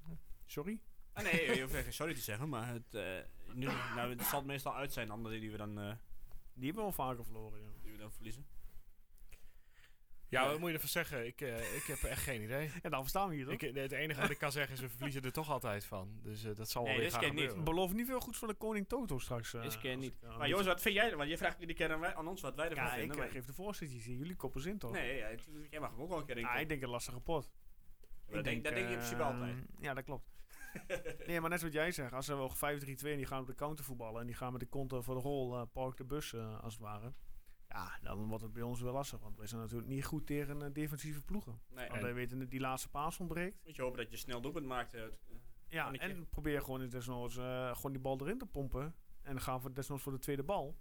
Speaker 2: Sorry.
Speaker 3: Ah, nee, je hoeft echt geen sorry te zeggen, maar het, eh, nu, nou, het zal meestal uit zijn, anderen die we dan, eh,
Speaker 2: Die hebben we al vaker verloren, ja.
Speaker 3: die we dan verliezen.
Speaker 4: Ja, wat moet je ervan zeggen? Ik, eh, ik heb echt geen idee.
Speaker 2: En dan verstaan we hier, toch?
Speaker 4: Ik, het enige wat ik kan zeggen is, we verliezen er toch altijd van. Dus eh, dat zal wel
Speaker 3: Nee,
Speaker 4: weer
Speaker 3: dit
Speaker 4: gaan
Speaker 3: keer niet.
Speaker 4: gebeuren.
Speaker 2: Beloof niet veel goeds van de koning Toto straks. eh,
Speaker 6: Is keer
Speaker 2: als
Speaker 6: niet.
Speaker 2: ik, eh,
Speaker 3: Maar Joost, wat vind jij dan? Want je vraagt iedere keer aan, wij- aan ons wat wij ervan
Speaker 2: Ja, ik
Speaker 3: vinden.
Speaker 2: eh,
Speaker 3: maar-
Speaker 2: geef de voorzitter hier. Jullie koppen zin, toch?
Speaker 3: nee, ja, het- jij mag hem ook wel een keer in.
Speaker 2: Ah, ik denk een lastige pot.
Speaker 3: dat denk, dat denk je in principe
Speaker 2: eh,
Speaker 3: altijd.
Speaker 2: Ja, dat klopt. nee, maar net wat jij zegt. Als ze wel 5-3-2 en die gaan op de counter voetballen... en die gaan met de konten voor de rol eh, park de bus, eh, als het ware... Ja, dan wordt het bij ons wel lastig. Want wij zijn natuurlijk niet goed tegen eh, defensieve ploegen.
Speaker 3: Nee,
Speaker 2: Want wij weten dat die laatste paas ontbreekt.
Speaker 3: moet je hopen dat je snel doelpunt maakt. eh, het-
Speaker 2: Ja,
Speaker 3: Kan ik je-
Speaker 2: en probeer gewoon eens desnoods eh, gewoon die bal erin te pompen. En dan gaan we desnoods voor de tweede bal.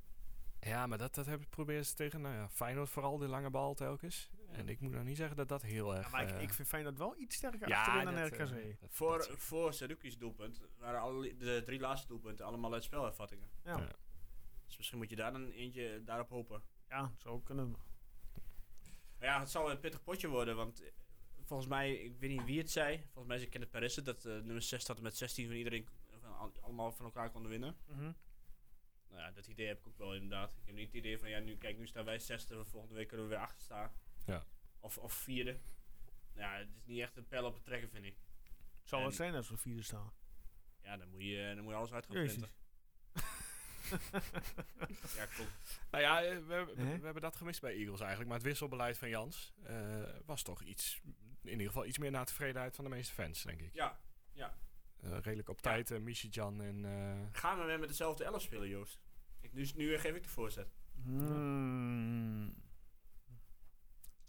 Speaker 4: Ja, maar dat, dat hebben, proberen ze tegen nou ja, Feyenoord vooral, de lange bal telkens. En ik moet nou niet zeggen dat dat heel erg...
Speaker 2: Ja, maar ik,
Speaker 4: eh,
Speaker 2: ik vind Feyenoord wel iets sterker
Speaker 4: ja,
Speaker 2: achterin dan
Speaker 4: dat,
Speaker 2: RKC.
Speaker 4: eh, dat-
Speaker 3: voor,
Speaker 4: dat-
Speaker 3: voor Saruki's doelpunt waren alle, de drie laatste doelpunten allemaal uit spelervattingen.
Speaker 2: ja.
Speaker 4: ja.
Speaker 2: Ja.
Speaker 3: Dus misschien moet je daar dan eentje daarop hopen.
Speaker 2: zo kunnen we.
Speaker 3: Maar ja, het zal een pittig potje worden, want eh, volgens mij, ik weet niet wie het zei, volgens mij is het Perissen dat eh, nummer 6 tot en met 16 van iedereen eh, van, al- allemaal van elkaar konden winnen.
Speaker 2: Mhm.
Speaker 3: Nou ja, dat idee heb ik ook wel inderdaad. Ik heb niet het idee van, ja, nu, kijk, nu staan wij zesde, maar volgende week kunnen we weer achter staan.
Speaker 4: Ja.
Speaker 3: Of, of vierde. Nou, ja, het is niet echt een pijl op het trekken, vind ik.
Speaker 2: Zou
Speaker 3: En-
Speaker 2: het zijn als we vierde staan?
Speaker 3: Ja, dan moet je, dan moet je alles uit gaan
Speaker 2: Jezus.
Speaker 3: printen. Ja, klopt.
Speaker 4: Nou ja, eh, we, we,
Speaker 2: Hè?
Speaker 4: we hebben dat gemist bij Eagles eigenlijk. Maar het wisselbeleid van Jans eh, was toch iets... In ieder geval iets meer naar tevredenheid van de meeste fans, denk ik.
Speaker 3: Ja,
Speaker 4: Eh, redelijk op
Speaker 3: Ja.
Speaker 4: tijd, eh Michijan en... eh,
Speaker 3: gaan we weer met dezelfde elf spelen, Joost? Ik, nu, nu geef ik de voorzet.
Speaker 2: Hmm.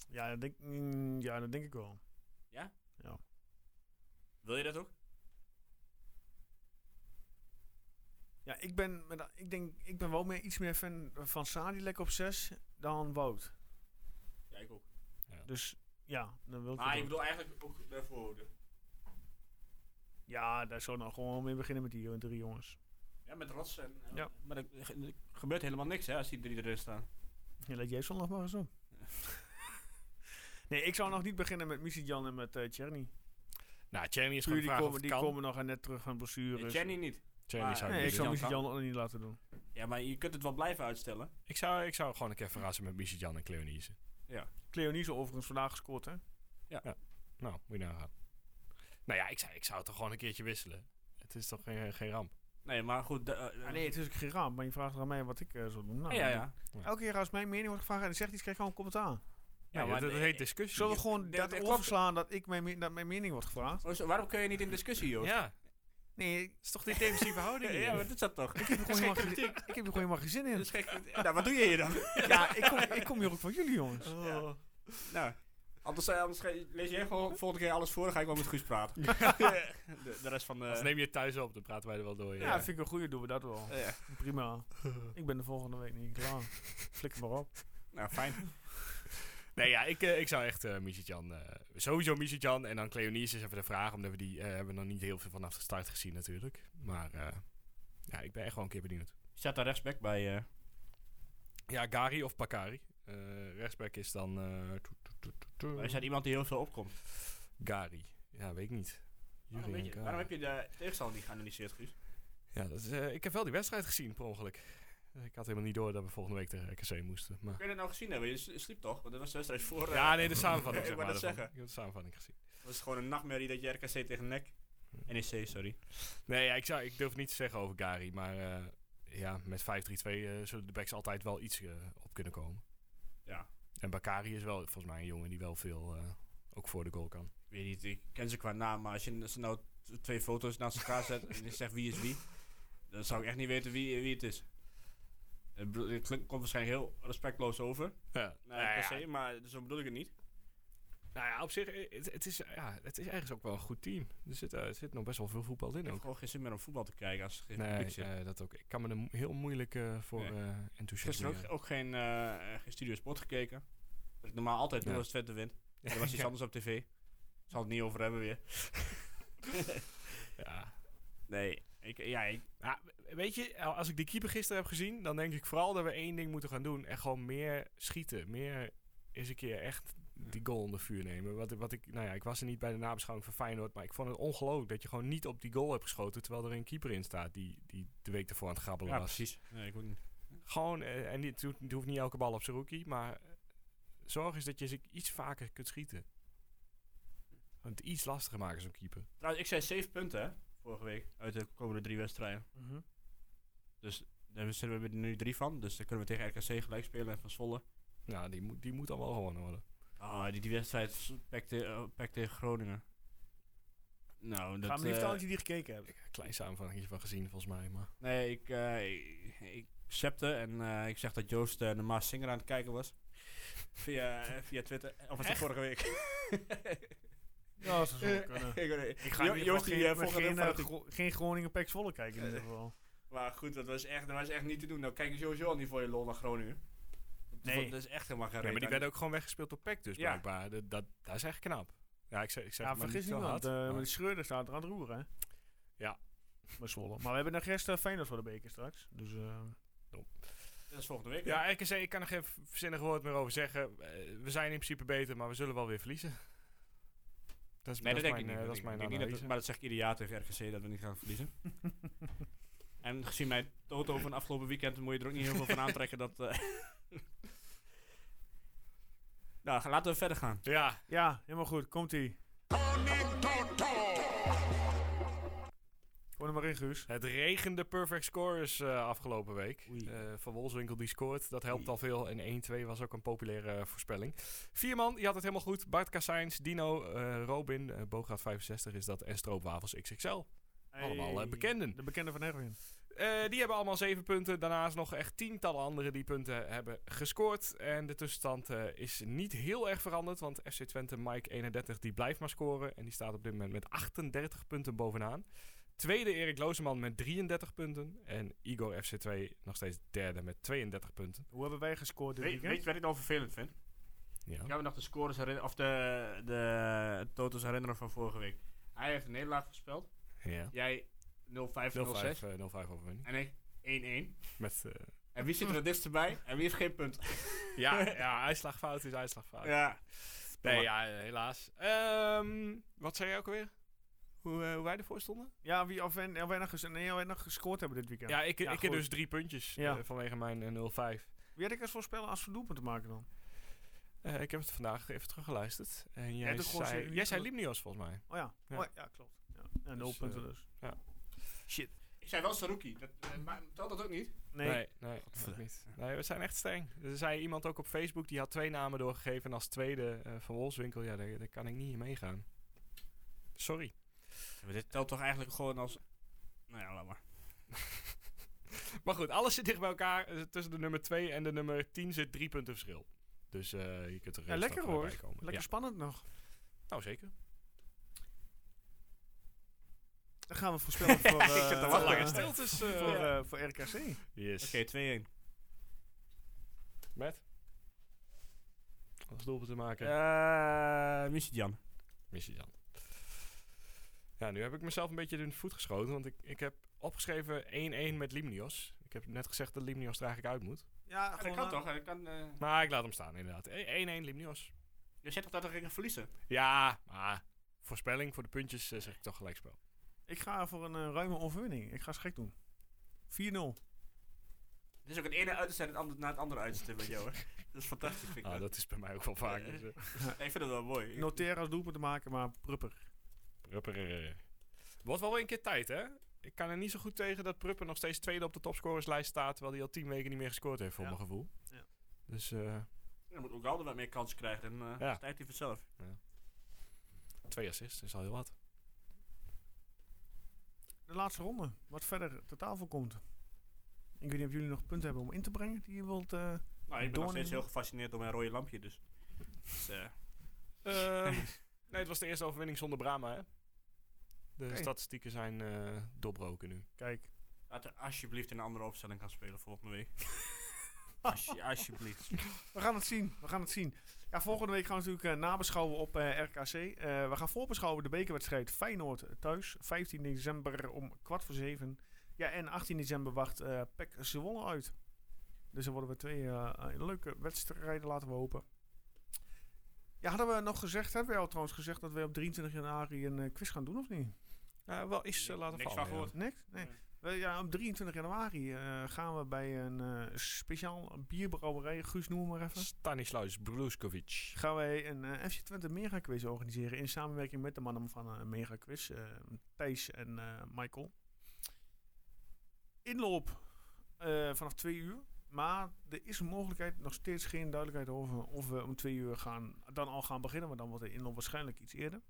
Speaker 2: Ja, dat denk, mm, ja, dat denk ik wel.
Speaker 3: Wil je dat ook?
Speaker 2: Ja, ik ben, met a- ik denk, ik ben wel meer, iets meer fan van Sadilek op 6 dan Wout.
Speaker 3: Ja, ik ook.
Speaker 2: Dus ja, dan wil ik
Speaker 3: Maar
Speaker 2: het
Speaker 3: ik
Speaker 2: ook.
Speaker 3: bedoel eigenlijk ook daarvoor.
Speaker 2: Ja, daar zou nou gewoon mee beginnen met die eh, drie jongens.
Speaker 3: Ja, met Rots en... eh,
Speaker 2: Ja.
Speaker 3: Maar er, er gebeurt helemaal niks, hè, als die drie erin staan.
Speaker 2: Ja, laat jij zondag maar eens op. nee, ik zou nog niet beginnen met Jan en met eh Tjerni.
Speaker 4: nou, Jamie is gewoon
Speaker 2: Puur,
Speaker 4: de
Speaker 2: die,
Speaker 4: vraag of
Speaker 2: komen,
Speaker 4: het
Speaker 2: die
Speaker 4: kan.
Speaker 2: komen nog net terug van
Speaker 3: Nee,
Speaker 2: blessures.
Speaker 3: Jenny niet.
Speaker 4: Jamie zou ik
Speaker 2: nee,
Speaker 4: niet
Speaker 2: ik
Speaker 4: doen.
Speaker 2: zou
Speaker 3: Jan
Speaker 2: Jan ook niet laten doen.
Speaker 3: Ja, maar je kunt het wel blijven uitstellen.
Speaker 4: Ik zou, ik zou gewoon een keer verrassen met Michijan en Cleonise.
Speaker 2: Cleonice overigens vandaag gescoord, hè?
Speaker 4: Nou, moet je nou gaan. Nou ja, ik zou, ik zou het toch gewoon een keertje wisselen. Het is toch geen, geen ramp.
Speaker 3: Nee, maar goed. da- eh,
Speaker 2: Ah, nee, het is ook geen raam, maar je vraagt aan mij wat ik eh, zou doen. Nou,
Speaker 3: ja, ja.
Speaker 2: Elke keer als mijn mening wordt gevraagd en zegt iets, krijg ik al een commentaar.
Speaker 4: Ja,
Speaker 3: maar
Speaker 4: dat, dat
Speaker 3: de-
Speaker 4: heet discussie.
Speaker 2: Zullen we gewoon
Speaker 3: dat-
Speaker 2: dat
Speaker 3: dat klopt.
Speaker 2: overslaan dat, ik mijn, me- dat mijn mening wordt gevraagd?
Speaker 3: Oh, zo- waarom kun je niet in discussie, Joost?
Speaker 4: Ja,
Speaker 2: Nee,
Speaker 4: is toch die defensieve houding hier?
Speaker 3: ja, maar dit zat toch?
Speaker 2: ik heb er gewoon helemaal geen-
Speaker 3: kritiek.
Speaker 2: ik heb er gewoon helemaal geen zin
Speaker 3: Dat
Speaker 2: in.
Speaker 3: is gek. Nou, wat doe je hier dan?
Speaker 2: Ja, ik kom, ik kom hier ook van jullie, jongens.
Speaker 3: Ja. Nou, anders, eh, anders ge- lees jij gewoon volgende keer alles voor, dan ga ik wel met Guus praten. de, de rest van de...
Speaker 4: Als Dus neem je het thuis op, dan praten wij er wel door.
Speaker 2: Ja, vind ik een goeie, doen we dat wel.
Speaker 3: Eh, ja.
Speaker 2: Prima. Ik ben de volgende week niet klaar. Flikker maar op.
Speaker 3: Nou, fijn.
Speaker 4: Nee, ja, ik, eh, ik zou echt eh Michijan... eh, sowieso Michijan en dan Cleonice is even de vraag. Omdat we die eh, hebben nog niet heel veel vanaf de start gezien natuurlijk. Maar eh, ja, ik ben echt gewoon een keer benieuwd.
Speaker 3: Zet daar rechtsback bij. eh,
Speaker 4: Ja, Gari of Pakari. Eh rechtsback is dan... eh, toet, toet, toet, toet, toet.
Speaker 3: Is dat iemand die heel veel opkomt?
Speaker 4: Gari. Ja, weet ik niet.
Speaker 3: Waarom, Oh,
Speaker 4: Jurien
Speaker 3: weet je,
Speaker 4: Gari.
Speaker 3: waarom heb je de tegenstander niet geanalyseerd, Guus?
Speaker 4: Ja, dat is, eh, ik heb wel die wedstrijd gezien, per ongeluk. Ik had helemaal niet door dat we volgende week tegen RKC moesten. Maar...
Speaker 3: Kun je dat nou gezien hebben? Je s- sliep toch? Want dat was de wedstrijd voor. eh,
Speaker 4: Ja, nee, de samenvatting.
Speaker 3: Ik
Speaker 4: zeg
Speaker 3: wou
Speaker 4: maar,
Speaker 3: dat
Speaker 4: daarvan.
Speaker 3: zeggen.
Speaker 4: Ik heb de samenvatting gezien.
Speaker 3: Het was gewoon een nachtmerrie dat je RKC tegen E NEC...
Speaker 4: Mm.
Speaker 3: NEC, sorry.
Speaker 4: Nee, ja, ik, zou, ik durf niet te zeggen over Gari. Maar eh, ja, met 5-3-2 eh, zullen de backs altijd wel iets eh, op kunnen komen.
Speaker 3: Ja.
Speaker 4: En Bakari is wel volgens mij een jongen die wel veel eh, ook voor de goal kan.
Speaker 3: Ik weet niet, ik ken ze qua naam, maar als je als je nou t- twee foto's naast elkaar zet en je zegt wie is wie... Dan zou ik echt niet weten wie, wie het is. Het bedoel- het klinkt- komt waarschijnlijk heel respectloos over.
Speaker 4: Ja.
Speaker 3: Nou,
Speaker 4: Nou
Speaker 3: per
Speaker 4: ja,
Speaker 3: se, maar zo bedoel ik het niet.
Speaker 4: nou ja, op zich, eh, het, het is, ja, het is ergens ook wel een goed team. Er zit, eh, er zit nog best wel veel voetbal
Speaker 3: Ik
Speaker 4: in
Speaker 3: heb
Speaker 4: ook.
Speaker 3: gewoon geen zin meer om voetbal te kijken als er geen
Speaker 4: Nee,
Speaker 3: publiek zit.
Speaker 4: eh, dat ook. Ik kan me er mo- heel moeilijk eh, voor
Speaker 3: Nee.
Speaker 4: eh enthousiasme.
Speaker 3: Gisteren ook, ook geen, eh, eh, geen Studio Sport gekeken. Wat ik normaal altijd doe
Speaker 4: Ja.
Speaker 3: als Twente wint. Maar er was iets anders op tv. Zal het niet over hebben weer.
Speaker 4: Ja.
Speaker 3: Nee, ik, ja, ik,
Speaker 4: Ja, weet je, al- als ik die keeper gisteren heb gezien, dan denk ik vooral dat we één ding moeten gaan doen. En gewoon meer schieten. Meer eens een keer echt die goal onder vuur nemen. Wat, wat ik, nou ja, ik was er niet bij de nabeschouwing van Feyenoord, maar ik vond het ongelooflijk dat je gewoon niet op die goal hebt geschoten, terwijl er een keeper in staat die, die de week ervoor aan het grabbelen
Speaker 3: ja,
Speaker 4: was.
Speaker 3: precies. Nee, ik ook niet.
Speaker 4: Gewoon, eh, en dit hoeft, het hoeft niet elke bal op zijn rookie, maar eh, zorg eens dat je ze iets vaker kunt schieten. Want het iets lastiger maken zo'n keeper.
Speaker 3: Trouwens, ik zei 7 punten hè, vorige week uit de komende drie wedstrijden.
Speaker 2: Mhm.
Speaker 3: Dus daar zitten we er nu drie van. Dus dan kunnen we tegen RKC gelijk spelen en van Zwolle.
Speaker 4: Nou, die moet, die moet dan wel gewonnen worden.
Speaker 3: Ah, die, die wedstrijd Pek te- eh, Pek tegen Groningen. Nou, dat...
Speaker 2: Ga me niet
Speaker 3: eh,
Speaker 2: vertellen dat je die gekeken hebt.
Speaker 4: Klein samenvatting van gezien, volgens mij. Maar
Speaker 3: Nee, ik, eh ik, ik accepte en eh, ik zeg dat Joost eh, naar Maas Singer aan het kijken was. Via, eh, via Twitter. Of was dat vorige week?
Speaker 2: Ja, dat zou wel kunnen.
Speaker 3: ik, weet het niet.
Speaker 2: Ik ga
Speaker 3: Jo-
Speaker 2: in ieder geval
Speaker 3: eh,
Speaker 2: geen,
Speaker 3: volgt
Speaker 2: geen,
Speaker 3: het
Speaker 2: eh,
Speaker 3: heel fanatiek.
Speaker 2: Gro- geen Groningen Pek Zwolle kijken in ieder geval.
Speaker 3: Maar goed, dat was, echt, dat was echt niet te doen. Nou kijk je sowieso al niet voor je lol naar Groningen.
Speaker 2: Nee.
Speaker 3: Dat is echt helemaal geen
Speaker 4: Nee, maar
Speaker 3: reet
Speaker 4: die
Speaker 3: aan.
Speaker 4: werden ook gewoon weggespeeld door Peck, dus
Speaker 3: Ja.
Speaker 4: blijkbaar. Dat, dat, dat is echt knap. Ja, ik zeg, ik zeg
Speaker 2: Ja,
Speaker 4: het maar
Speaker 2: vergis
Speaker 4: niet zo
Speaker 2: niemand.
Speaker 4: hard,
Speaker 2: eh,
Speaker 4: maar-
Speaker 2: maar die Schreuder staat er aan het roeren, hè?
Speaker 4: Ja.
Speaker 3: eh,
Speaker 2: Met Zwolle. Maar we hebben nog rest eh, Feyenoord voor de beker straks. Dus eh,
Speaker 3: Dat is volgende week.
Speaker 4: Ja, RKC, ik kan er geen v- zinnig woord meer over zeggen. Eh, We zijn in principe beter, maar we zullen wel weer verliezen. Dat is,
Speaker 3: Nee, dat,
Speaker 4: is
Speaker 3: denk ik
Speaker 4: mijn,
Speaker 3: niet.
Speaker 4: eh,
Speaker 3: dat
Speaker 4: Dat is
Speaker 3: denk ik
Speaker 4: mijn
Speaker 3: niet. Ik denk niet dat,
Speaker 4: analyse.
Speaker 3: maar dat zeg ik ieder jaar tegen RKC dat we niet gaan verliezen. en gezien mijn toto van afgelopen weekend moet je er ook niet heel veel van aantrekken. Dat, eh, nou, ga- laten we verder gaan.
Speaker 4: Ja,
Speaker 2: ja, helemaal goed. Komt-ie. Gewoon er maar in, Guus.
Speaker 4: het regende perfect scores eh, afgelopen week.
Speaker 3: Oei.
Speaker 4: Eh, van Wolfswinkel die scoort, dat helpt
Speaker 3: Oei.
Speaker 4: al veel. En 1-2 was ook een populaire eh, voorspelling. Vierman, die had het helemaal goed. Bart Kassijns, Dino, eh, Robin, eh Bogaat 65 is dat. En Stroopwafels XXL. Allemaal, eh, bekenden.
Speaker 2: De bekende van Erwin.
Speaker 4: Eh, die hebben allemaal zeven punten. Daarnaast nog echt tientallen anderen die punten hebben gescoord. En de tussenstand eh, is niet heel erg veranderd. Want FC Twente Mike 31 die blijft maar scoren. En die staat op dit moment met 38 punten bovenaan. Tweede Erik Lozeman met 33 punten. En Igor FC2 nog steeds derde met 32 punten.
Speaker 2: Hoe hebben wij gescoord dit
Speaker 3: Weet,
Speaker 2: weekend?
Speaker 3: weet je wat ik nou vervelend vind?
Speaker 4: Ja.
Speaker 3: Ik ga me nog de scores herinneren, of de, de toto's herinneren van vorige week. Hij heeft een nederlaag gespeeld.
Speaker 4: ja.
Speaker 3: Jij 05, 06.
Speaker 4: 05, eh, 05 overwinning.
Speaker 3: En ik 1-1.
Speaker 4: Met, eh,
Speaker 3: En wie zit er het dichtst bij? En wie heeft geen punt?
Speaker 4: ja, ja, uitslagfout is uitslagfout.
Speaker 3: Ja.
Speaker 4: Nee, ja, eh, helaas. Ehm, wat zei jij ook alweer? Hoe, eh, hoe wij ervoor stonden?
Speaker 2: Ja, wie, of, en, en, wij nog, ges- nee, of wij nog gescoord hebben dit weekend.
Speaker 4: Ja, ik,
Speaker 2: Ja,
Speaker 4: ik heb
Speaker 2: goed.
Speaker 4: dus drie puntjes
Speaker 2: Ja.
Speaker 4: eh, vanwege mijn eh, 05.
Speaker 2: Wie had ik als voorspeller als verdoelpunt te maken dan?
Speaker 4: Eh, ik heb het vandaag even teruggeluisterd. En jij,
Speaker 2: doet gewoon
Speaker 4: zei,
Speaker 2: zeven
Speaker 4: jij
Speaker 2: minuten
Speaker 4: zei
Speaker 2: terug.
Speaker 4: Limnios volgens mij.
Speaker 2: Oh ja,
Speaker 4: Ja.
Speaker 2: ja, oh, ja klopt. Ja, ja nul
Speaker 4: Dus,
Speaker 2: punten
Speaker 4: eh,
Speaker 2: dus.
Speaker 3: Ik zei wel Saruki. Dat, eh, maar telt dat ook niet?
Speaker 2: Nee.
Speaker 4: nee, nee, ook niet. Nee, we zijn echt streng. Er zei iemand ook op Facebook, die had twee namen doorgegeven. En als tweede eh, van Wolfswinkel, ja, daar, daar kan ik niet in meegaan. Sorry.
Speaker 3: Maar dit telt toch eigenlijk gewoon als... Nou ja, laat maar.
Speaker 4: Maar goed, alles zit dicht bij elkaar. Eh, Tussen de nummer 2 en de nummer 10 zit drie punten verschil. Dus eh, je kunt er
Speaker 2: Ja,
Speaker 4: eh,
Speaker 2: lekker
Speaker 4: straks wel
Speaker 2: hoor.
Speaker 4: bij komen.
Speaker 2: Lekker
Speaker 4: Ja.
Speaker 2: spannend nog.
Speaker 4: Nou, zeker.
Speaker 2: Dan gaan we voorspellen voor, eh
Speaker 3: zit te
Speaker 2: voor,
Speaker 3: wachten.
Speaker 2: eh,
Speaker 4: Lange stiltes. eh,
Speaker 2: voor,
Speaker 4: ja.
Speaker 2: eh, voor RKC.
Speaker 4: Yes.
Speaker 3: Oké, 2-1.
Speaker 4: Met? Als doelpunt te maken.
Speaker 3: Eh, Jan.
Speaker 4: Mis je dan. Ja, nu heb ik mezelf een beetje in de voet geschoten. Want ik, ik heb opgeschreven 1-1 met Limnios. Ik heb net gezegd dat Limnios er eigenlijk uit moet.
Speaker 2: Ja,
Speaker 3: Dat kan toch? Dat kan, eh,
Speaker 4: Maar ik laat hem staan, inderdaad. 1-1 Limnios.
Speaker 3: je zegt toch dat we gingen verliezen?
Speaker 4: Ja, maar voorspelling voor de puntjes eh, zeg ik toch gelijkspel.
Speaker 2: Ik ga voor een eh, ruime overwinning. Ik ga schrik doen. 4-0.
Speaker 3: Dit is ook het ene uiterste en het ander, naar het andere uiterste bij jou, hoor. Dat is fantastisch, vind ik.
Speaker 4: Ah,
Speaker 3: dat.
Speaker 4: dat is bij mij ook wel vaak. Dus, eh,
Speaker 3: Ik vind het wel mooi. Ik-
Speaker 2: Noteer als doelpunt te maken, maar prupper.
Speaker 4: Prupper. eh. Wordt wel weer een keer tijd, hè? Ik kan er niet zo goed tegen dat Prupper nog steeds tweede op de topscorerslijst staat. Terwijl hij al tien weken niet meer gescoord heeft, voor
Speaker 2: Ja.
Speaker 4: mijn gevoel.
Speaker 2: Ja.
Speaker 4: Dus eh,
Speaker 3: Dan moet ook altijd wat meer kansen krijgen. En eh
Speaker 4: Ja.
Speaker 3: stijgt hij vanzelf.
Speaker 4: twee assists is al heel wat.
Speaker 2: De laatste ronde. Wat verder te tafel komt. Ik weet niet of jullie nog punten hebben om in te brengen die je wilt... eh,
Speaker 3: Nou, ik ben
Speaker 2: Doorn
Speaker 3: nog steeds
Speaker 2: in-
Speaker 3: heel gefascineerd door mijn rode lampje, dus... dus eh,
Speaker 4: Ehm, nee, het was de eerste overwinning zonder Brama, hè? De
Speaker 2: Oké.
Speaker 4: statistieken zijn eh, doorbroken nu.
Speaker 2: kijk,
Speaker 3: laten we alsjeblieft in een andere opstelling gaan spelen volgende week. Alsje- alsjeblieft.
Speaker 2: we gaan het zien. We gaan het zien. Ja, volgende week gaan we natuurlijk eh, nabeschouwen op eh, RKC. Eh, we gaan voorbeschouwen de bekerwedstrijd Feyenoord thuis. 15 december om kwart voor zeven. Ja, en 18 december wacht eh PEC Zwolle uit. Dus er worden we twee eh, eh, leuke wedstrijden, laten we hopen. Ja, hadden we nog gezegd, hebben we al trouwens gezegd dat we op 23 januari een eh, quiz gaan doen, of niet?
Speaker 4: Nou, wel is eh, laten
Speaker 3: Niks
Speaker 4: vallen.
Speaker 3: van gehoord.
Speaker 2: Niks? Nee.
Speaker 3: Nee.
Speaker 2: We- ja, op 23 januari eh, gaan we bij een eh, speciaal bierbrouwerij, Guus noem maar
Speaker 4: ja.
Speaker 2: even.
Speaker 4: Stanislaus Bruskovic.
Speaker 2: Gaan wij een eh, FC Twente Mega Quiz organiseren in samenwerking met de mannen van eh, Mega Quiz, eh, Thijs en eh, Michael. Inloop eh, vanaf twee uur, maar er is een mogelijkheid, nog steeds geen duidelijkheid over of we om twee uur gaan, dan al gaan beginnen, maar dan wordt de inloop waarschijnlijk iets eerder.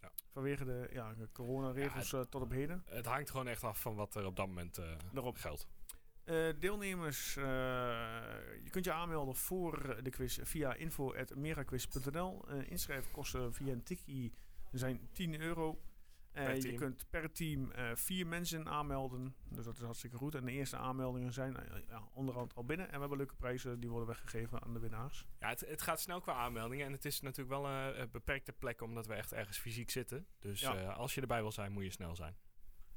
Speaker 4: Ja.
Speaker 2: Vanwege de ja, coronaregels
Speaker 4: Ja,
Speaker 2: eh, tot op heden.
Speaker 4: Het hangt gewoon echt af van wat er op dat moment eh
Speaker 2: Daarop.
Speaker 4: geldt.
Speaker 2: Eh, deelnemers, eh, je kunt je aanmelden voor eh, de quiz via info.meraquiz.nl. Eh inschrijfkosten via een tikkie zijn 10 euro. Eh,
Speaker 4: Per
Speaker 2: je
Speaker 4: team.
Speaker 2: kunt per team eh, vier mensen aanmelden. Dus dat is hartstikke goed. En de eerste aanmeldingen zijn eh, ja, onderhand al binnen. En we hebben leuke prijzen die worden weggegeven aan de winnaars.
Speaker 4: Ja, het, het gaat snel qua aanmeldingen. En het is natuurlijk wel eh, een beperkte plek, omdat we echt ergens fysiek zitten. Dus
Speaker 2: Ja.
Speaker 4: eh, als je erbij wil zijn, moet je snel zijn.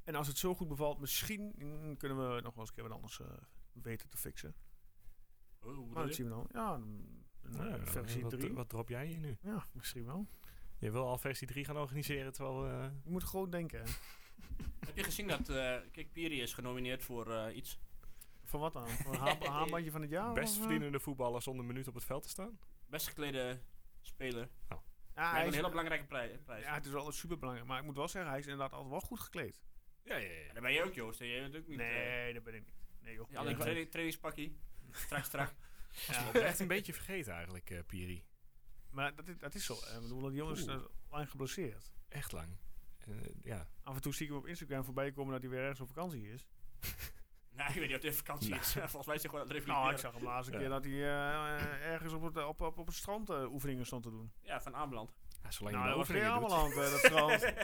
Speaker 2: En als het zo goed bevalt, misschien mm, kunnen we nog wel eens een keer wat anders eh, weten te fixen.
Speaker 3: Oh, hoe bedoel
Speaker 2: Maar dat
Speaker 3: je?
Speaker 2: zien we dan. Ja, een, een, eh,
Speaker 4: Eh,
Speaker 2: versie
Speaker 4: wat,
Speaker 2: 3.
Speaker 4: wat drop jij hier nu?
Speaker 2: Ja, misschien wel.
Speaker 4: Je wil al versie 3 gaan organiseren, terwijl... we, eh,
Speaker 2: Je moet gewoon denken. hè.
Speaker 3: Heb je gezien dat eh Kikpiri is genomineerd voor eh, iets?
Speaker 2: Van wat dan? Voor een ha- haarbandje van het jaar?
Speaker 4: best
Speaker 2: of, eh?
Speaker 4: verdienende voetballer zonder minuut op het veld te staan.
Speaker 3: Best geklede speler.
Speaker 2: Ja,
Speaker 3: Lijkt
Speaker 2: Ah, hij
Speaker 3: me een
Speaker 2: is,
Speaker 3: hele belangrijke prij- prijs.
Speaker 2: ja, het is wel super belangrijk. Maar ik moet wel zeggen, hij is inderdaad altijd wel goed gekleed.
Speaker 4: Ja, ja, ja.
Speaker 3: En dan ben je ook Joost, hè? jij bent ook niet... eh,
Speaker 2: Nee, dat ben ik niet. Nee, joh.
Speaker 3: ja, alleen
Speaker 2: Ja.
Speaker 3: training, trainingspakkie. Strak, strak.
Speaker 2: Ja.
Speaker 4: Echt een beetje vergeten eigenlijk, eh, Piri.
Speaker 2: Maar dat is, dat is zo. Eh, Ik bedoel, die jongens
Speaker 4: Oeh.
Speaker 2: zijn lang geblesseerd.
Speaker 4: Echt lang. Eh, ja.
Speaker 2: Af en toe zie ik hem op Instagram voorbij komen dat hij weer ergens op vakantie is.
Speaker 3: Nou, ik weet niet of dit vakantie is. Volgens mij is hij gewoon aan het
Speaker 2: Nou, ik
Speaker 3: reflecteren.
Speaker 2: zag hem laatst een
Speaker 4: Ja.
Speaker 2: keer dat hij eh, ergens op het, op, op, op het strand eh, oefeningen stond te doen.
Speaker 3: Ja, van Ameland.
Speaker 4: Ja, zolang
Speaker 2: nou,
Speaker 4: je
Speaker 2: dat
Speaker 4: de
Speaker 2: was weer
Speaker 4: oefeningen doet.
Speaker 2: allemaal aan dat strand.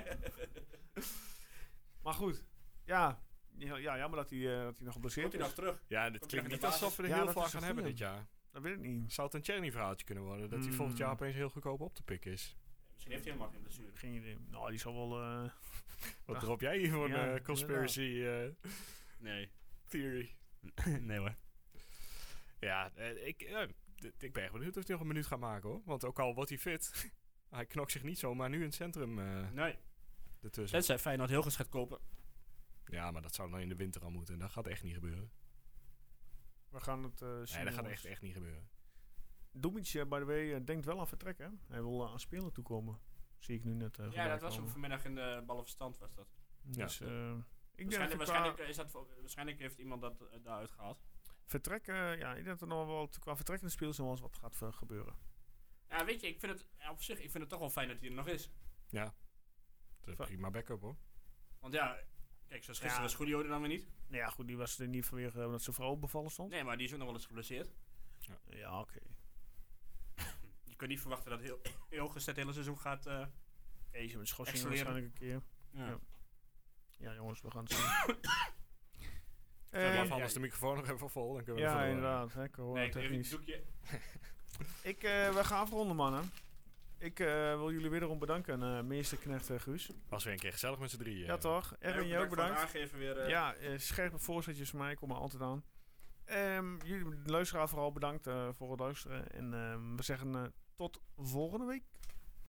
Speaker 2: maar goed, ja. Ja, ja, jammer dat hij, eh, dat hij nog
Speaker 3: Komt
Speaker 2: geblesseerd
Speaker 3: hij
Speaker 2: is.
Speaker 3: nog terug?
Speaker 4: Ja, dit
Speaker 3: Komt
Speaker 4: klinkt
Speaker 3: hij
Speaker 4: niet
Speaker 3: nog in de
Speaker 4: alsof we er
Speaker 2: basis?
Speaker 4: heel
Speaker 2: Ja, dat
Speaker 4: veel aan
Speaker 2: is
Speaker 4: gaan
Speaker 2: een
Speaker 4: hebben dit
Speaker 2: goeie.
Speaker 4: jaar.
Speaker 2: Dat weet ik niet.
Speaker 4: Zou het een Cherny verhaaltje kunnen worden? Dat hij
Speaker 2: Mm.
Speaker 4: volgend jaar opeens heel goedkoop op te pikken is.
Speaker 3: Misschien heeft hij helemaal geen blessure.
Speaker 2: Geen idee. Nou, die zal wel... eh,
Speaker 4: Wat
Speaker 2: Ach,
Speaker 4: drop jij hier voor
Speaker 2: ja,
Speaker 4: een eh, conspiracy eh,
Speaker 3: Nee.
Speaker 4: theory?
Speaker 3: nee hoor.
Speaker 4: Ja, eh, ik, eh, d- ik ben echt benieuwd of hij nog een minuut gaat maken hoor. Want ook al wordt hij fit, hij knokt zich niet zomaar nu in het centrum eh
Speaker 3: Nee.
Speaker 4: ertussen.
Speaker 3: Tenzij Feyenoord heel gaat kopen.
Speaker 4: Ja, maar dat zou dan in de winter al moeten. En dat gaat echt niet gebeuren.
Speaker 2: We gaan het eh, zien.
Speaker 4: Nee, dat gaat
Speaker 2: jongens.
Speaker 4: echt, echt niet gebeuren.
Speaker 2: Doemitje, by the way, eh, denkt wel aan vertrekken. hè? Hij wil eh, aan spelen toekomen. Zie ik nu net. eh,
Speaker 3: Ja,
Speaker 2: voorbij
Speaker 3: dat was hem
Speaker 2: komen.
Speaker 3: vanmiddag in de ballenverstand was dat.
Speaker 4: Ja.
Speaker 2: Dus, eh, ik denk dat
Speaker 3: Waarschijnlijk,
Speaker 2: er
Speaker 3: waarschijnlijk,
Speaker 2: qua
Speaker 3: eh, is dat, voor- waarschijnlijk heeft iemand dat eh, daaruit gehaald.
Speaker 2: vertrekken, eh, ja, ik denk dat er nog wel qua vertrekkende spelers nog wel eens wat gaat eh, gebeuren.
Speaker 3: Ja, weet je, ik vind het ja, op zich ik vind het toch wel fijn dat hij er nog is.
Speaker 4: Dat is
Speaker 2: Va-
Speaker 4: prima backup hoor.
Speaker 3: Want ja, kijk, zoals gisteren
Speaker 2: Ja.
Speaker 3: was Julio er dan weer niet.
Speaker 2: Nou ja, goed, die was er niet vanwege eh, dat zijn vrouw bevallen stond.
Speaker 3: Nee, maar die is ook nog wel eens geblesseerd.
Speaker 2: Ja, oké.
Speaker 3: Je kunt niet verwachten dat heel, heel het hele seizoen gaat. eh,
Speaker 2: Deze met schorsing
Speaker 3: Excelleren.
Speaker 2: waarschijnlijk een keer.
Speaker 3: ja.
Speaker 2: Ja, jongens, we gaan het zien. Eh,
Speaker 4: Laat
Speaker 3: Ja,
Speaker 4: anders de microfoon nog even vol, dan kunnen we
Speaker 2: ja,
Speaker 4: ervoor, eh,
Speaker 2: inderdaad. Hè,
Speaker 3: Nee, ik- even een
Speaker 2: technisch.
Speaker 3: doekje.
Speaker 2: Ik, eh, we gaan afronden, mannen. Ik eh, wil jullie wederom bedanken, eh, meester Knecht en Guus.
Speaker 4: Was weer een keer gezellig met z'n drieën.
Speaker 2: Ja, toch? Erwin, jij ook
Speaker 3: voor het
Speaker 2: bedankt.
Speaker 3: aangeven weer. eh,
Speaker 2: Ja, eh, scherpe voorzetjes van mij komen altijd aan. Ehm, jullie, de luisteraar vooral bedankt eh, voor het luisteren. En ehm, we zeggen eh, tot volgende week.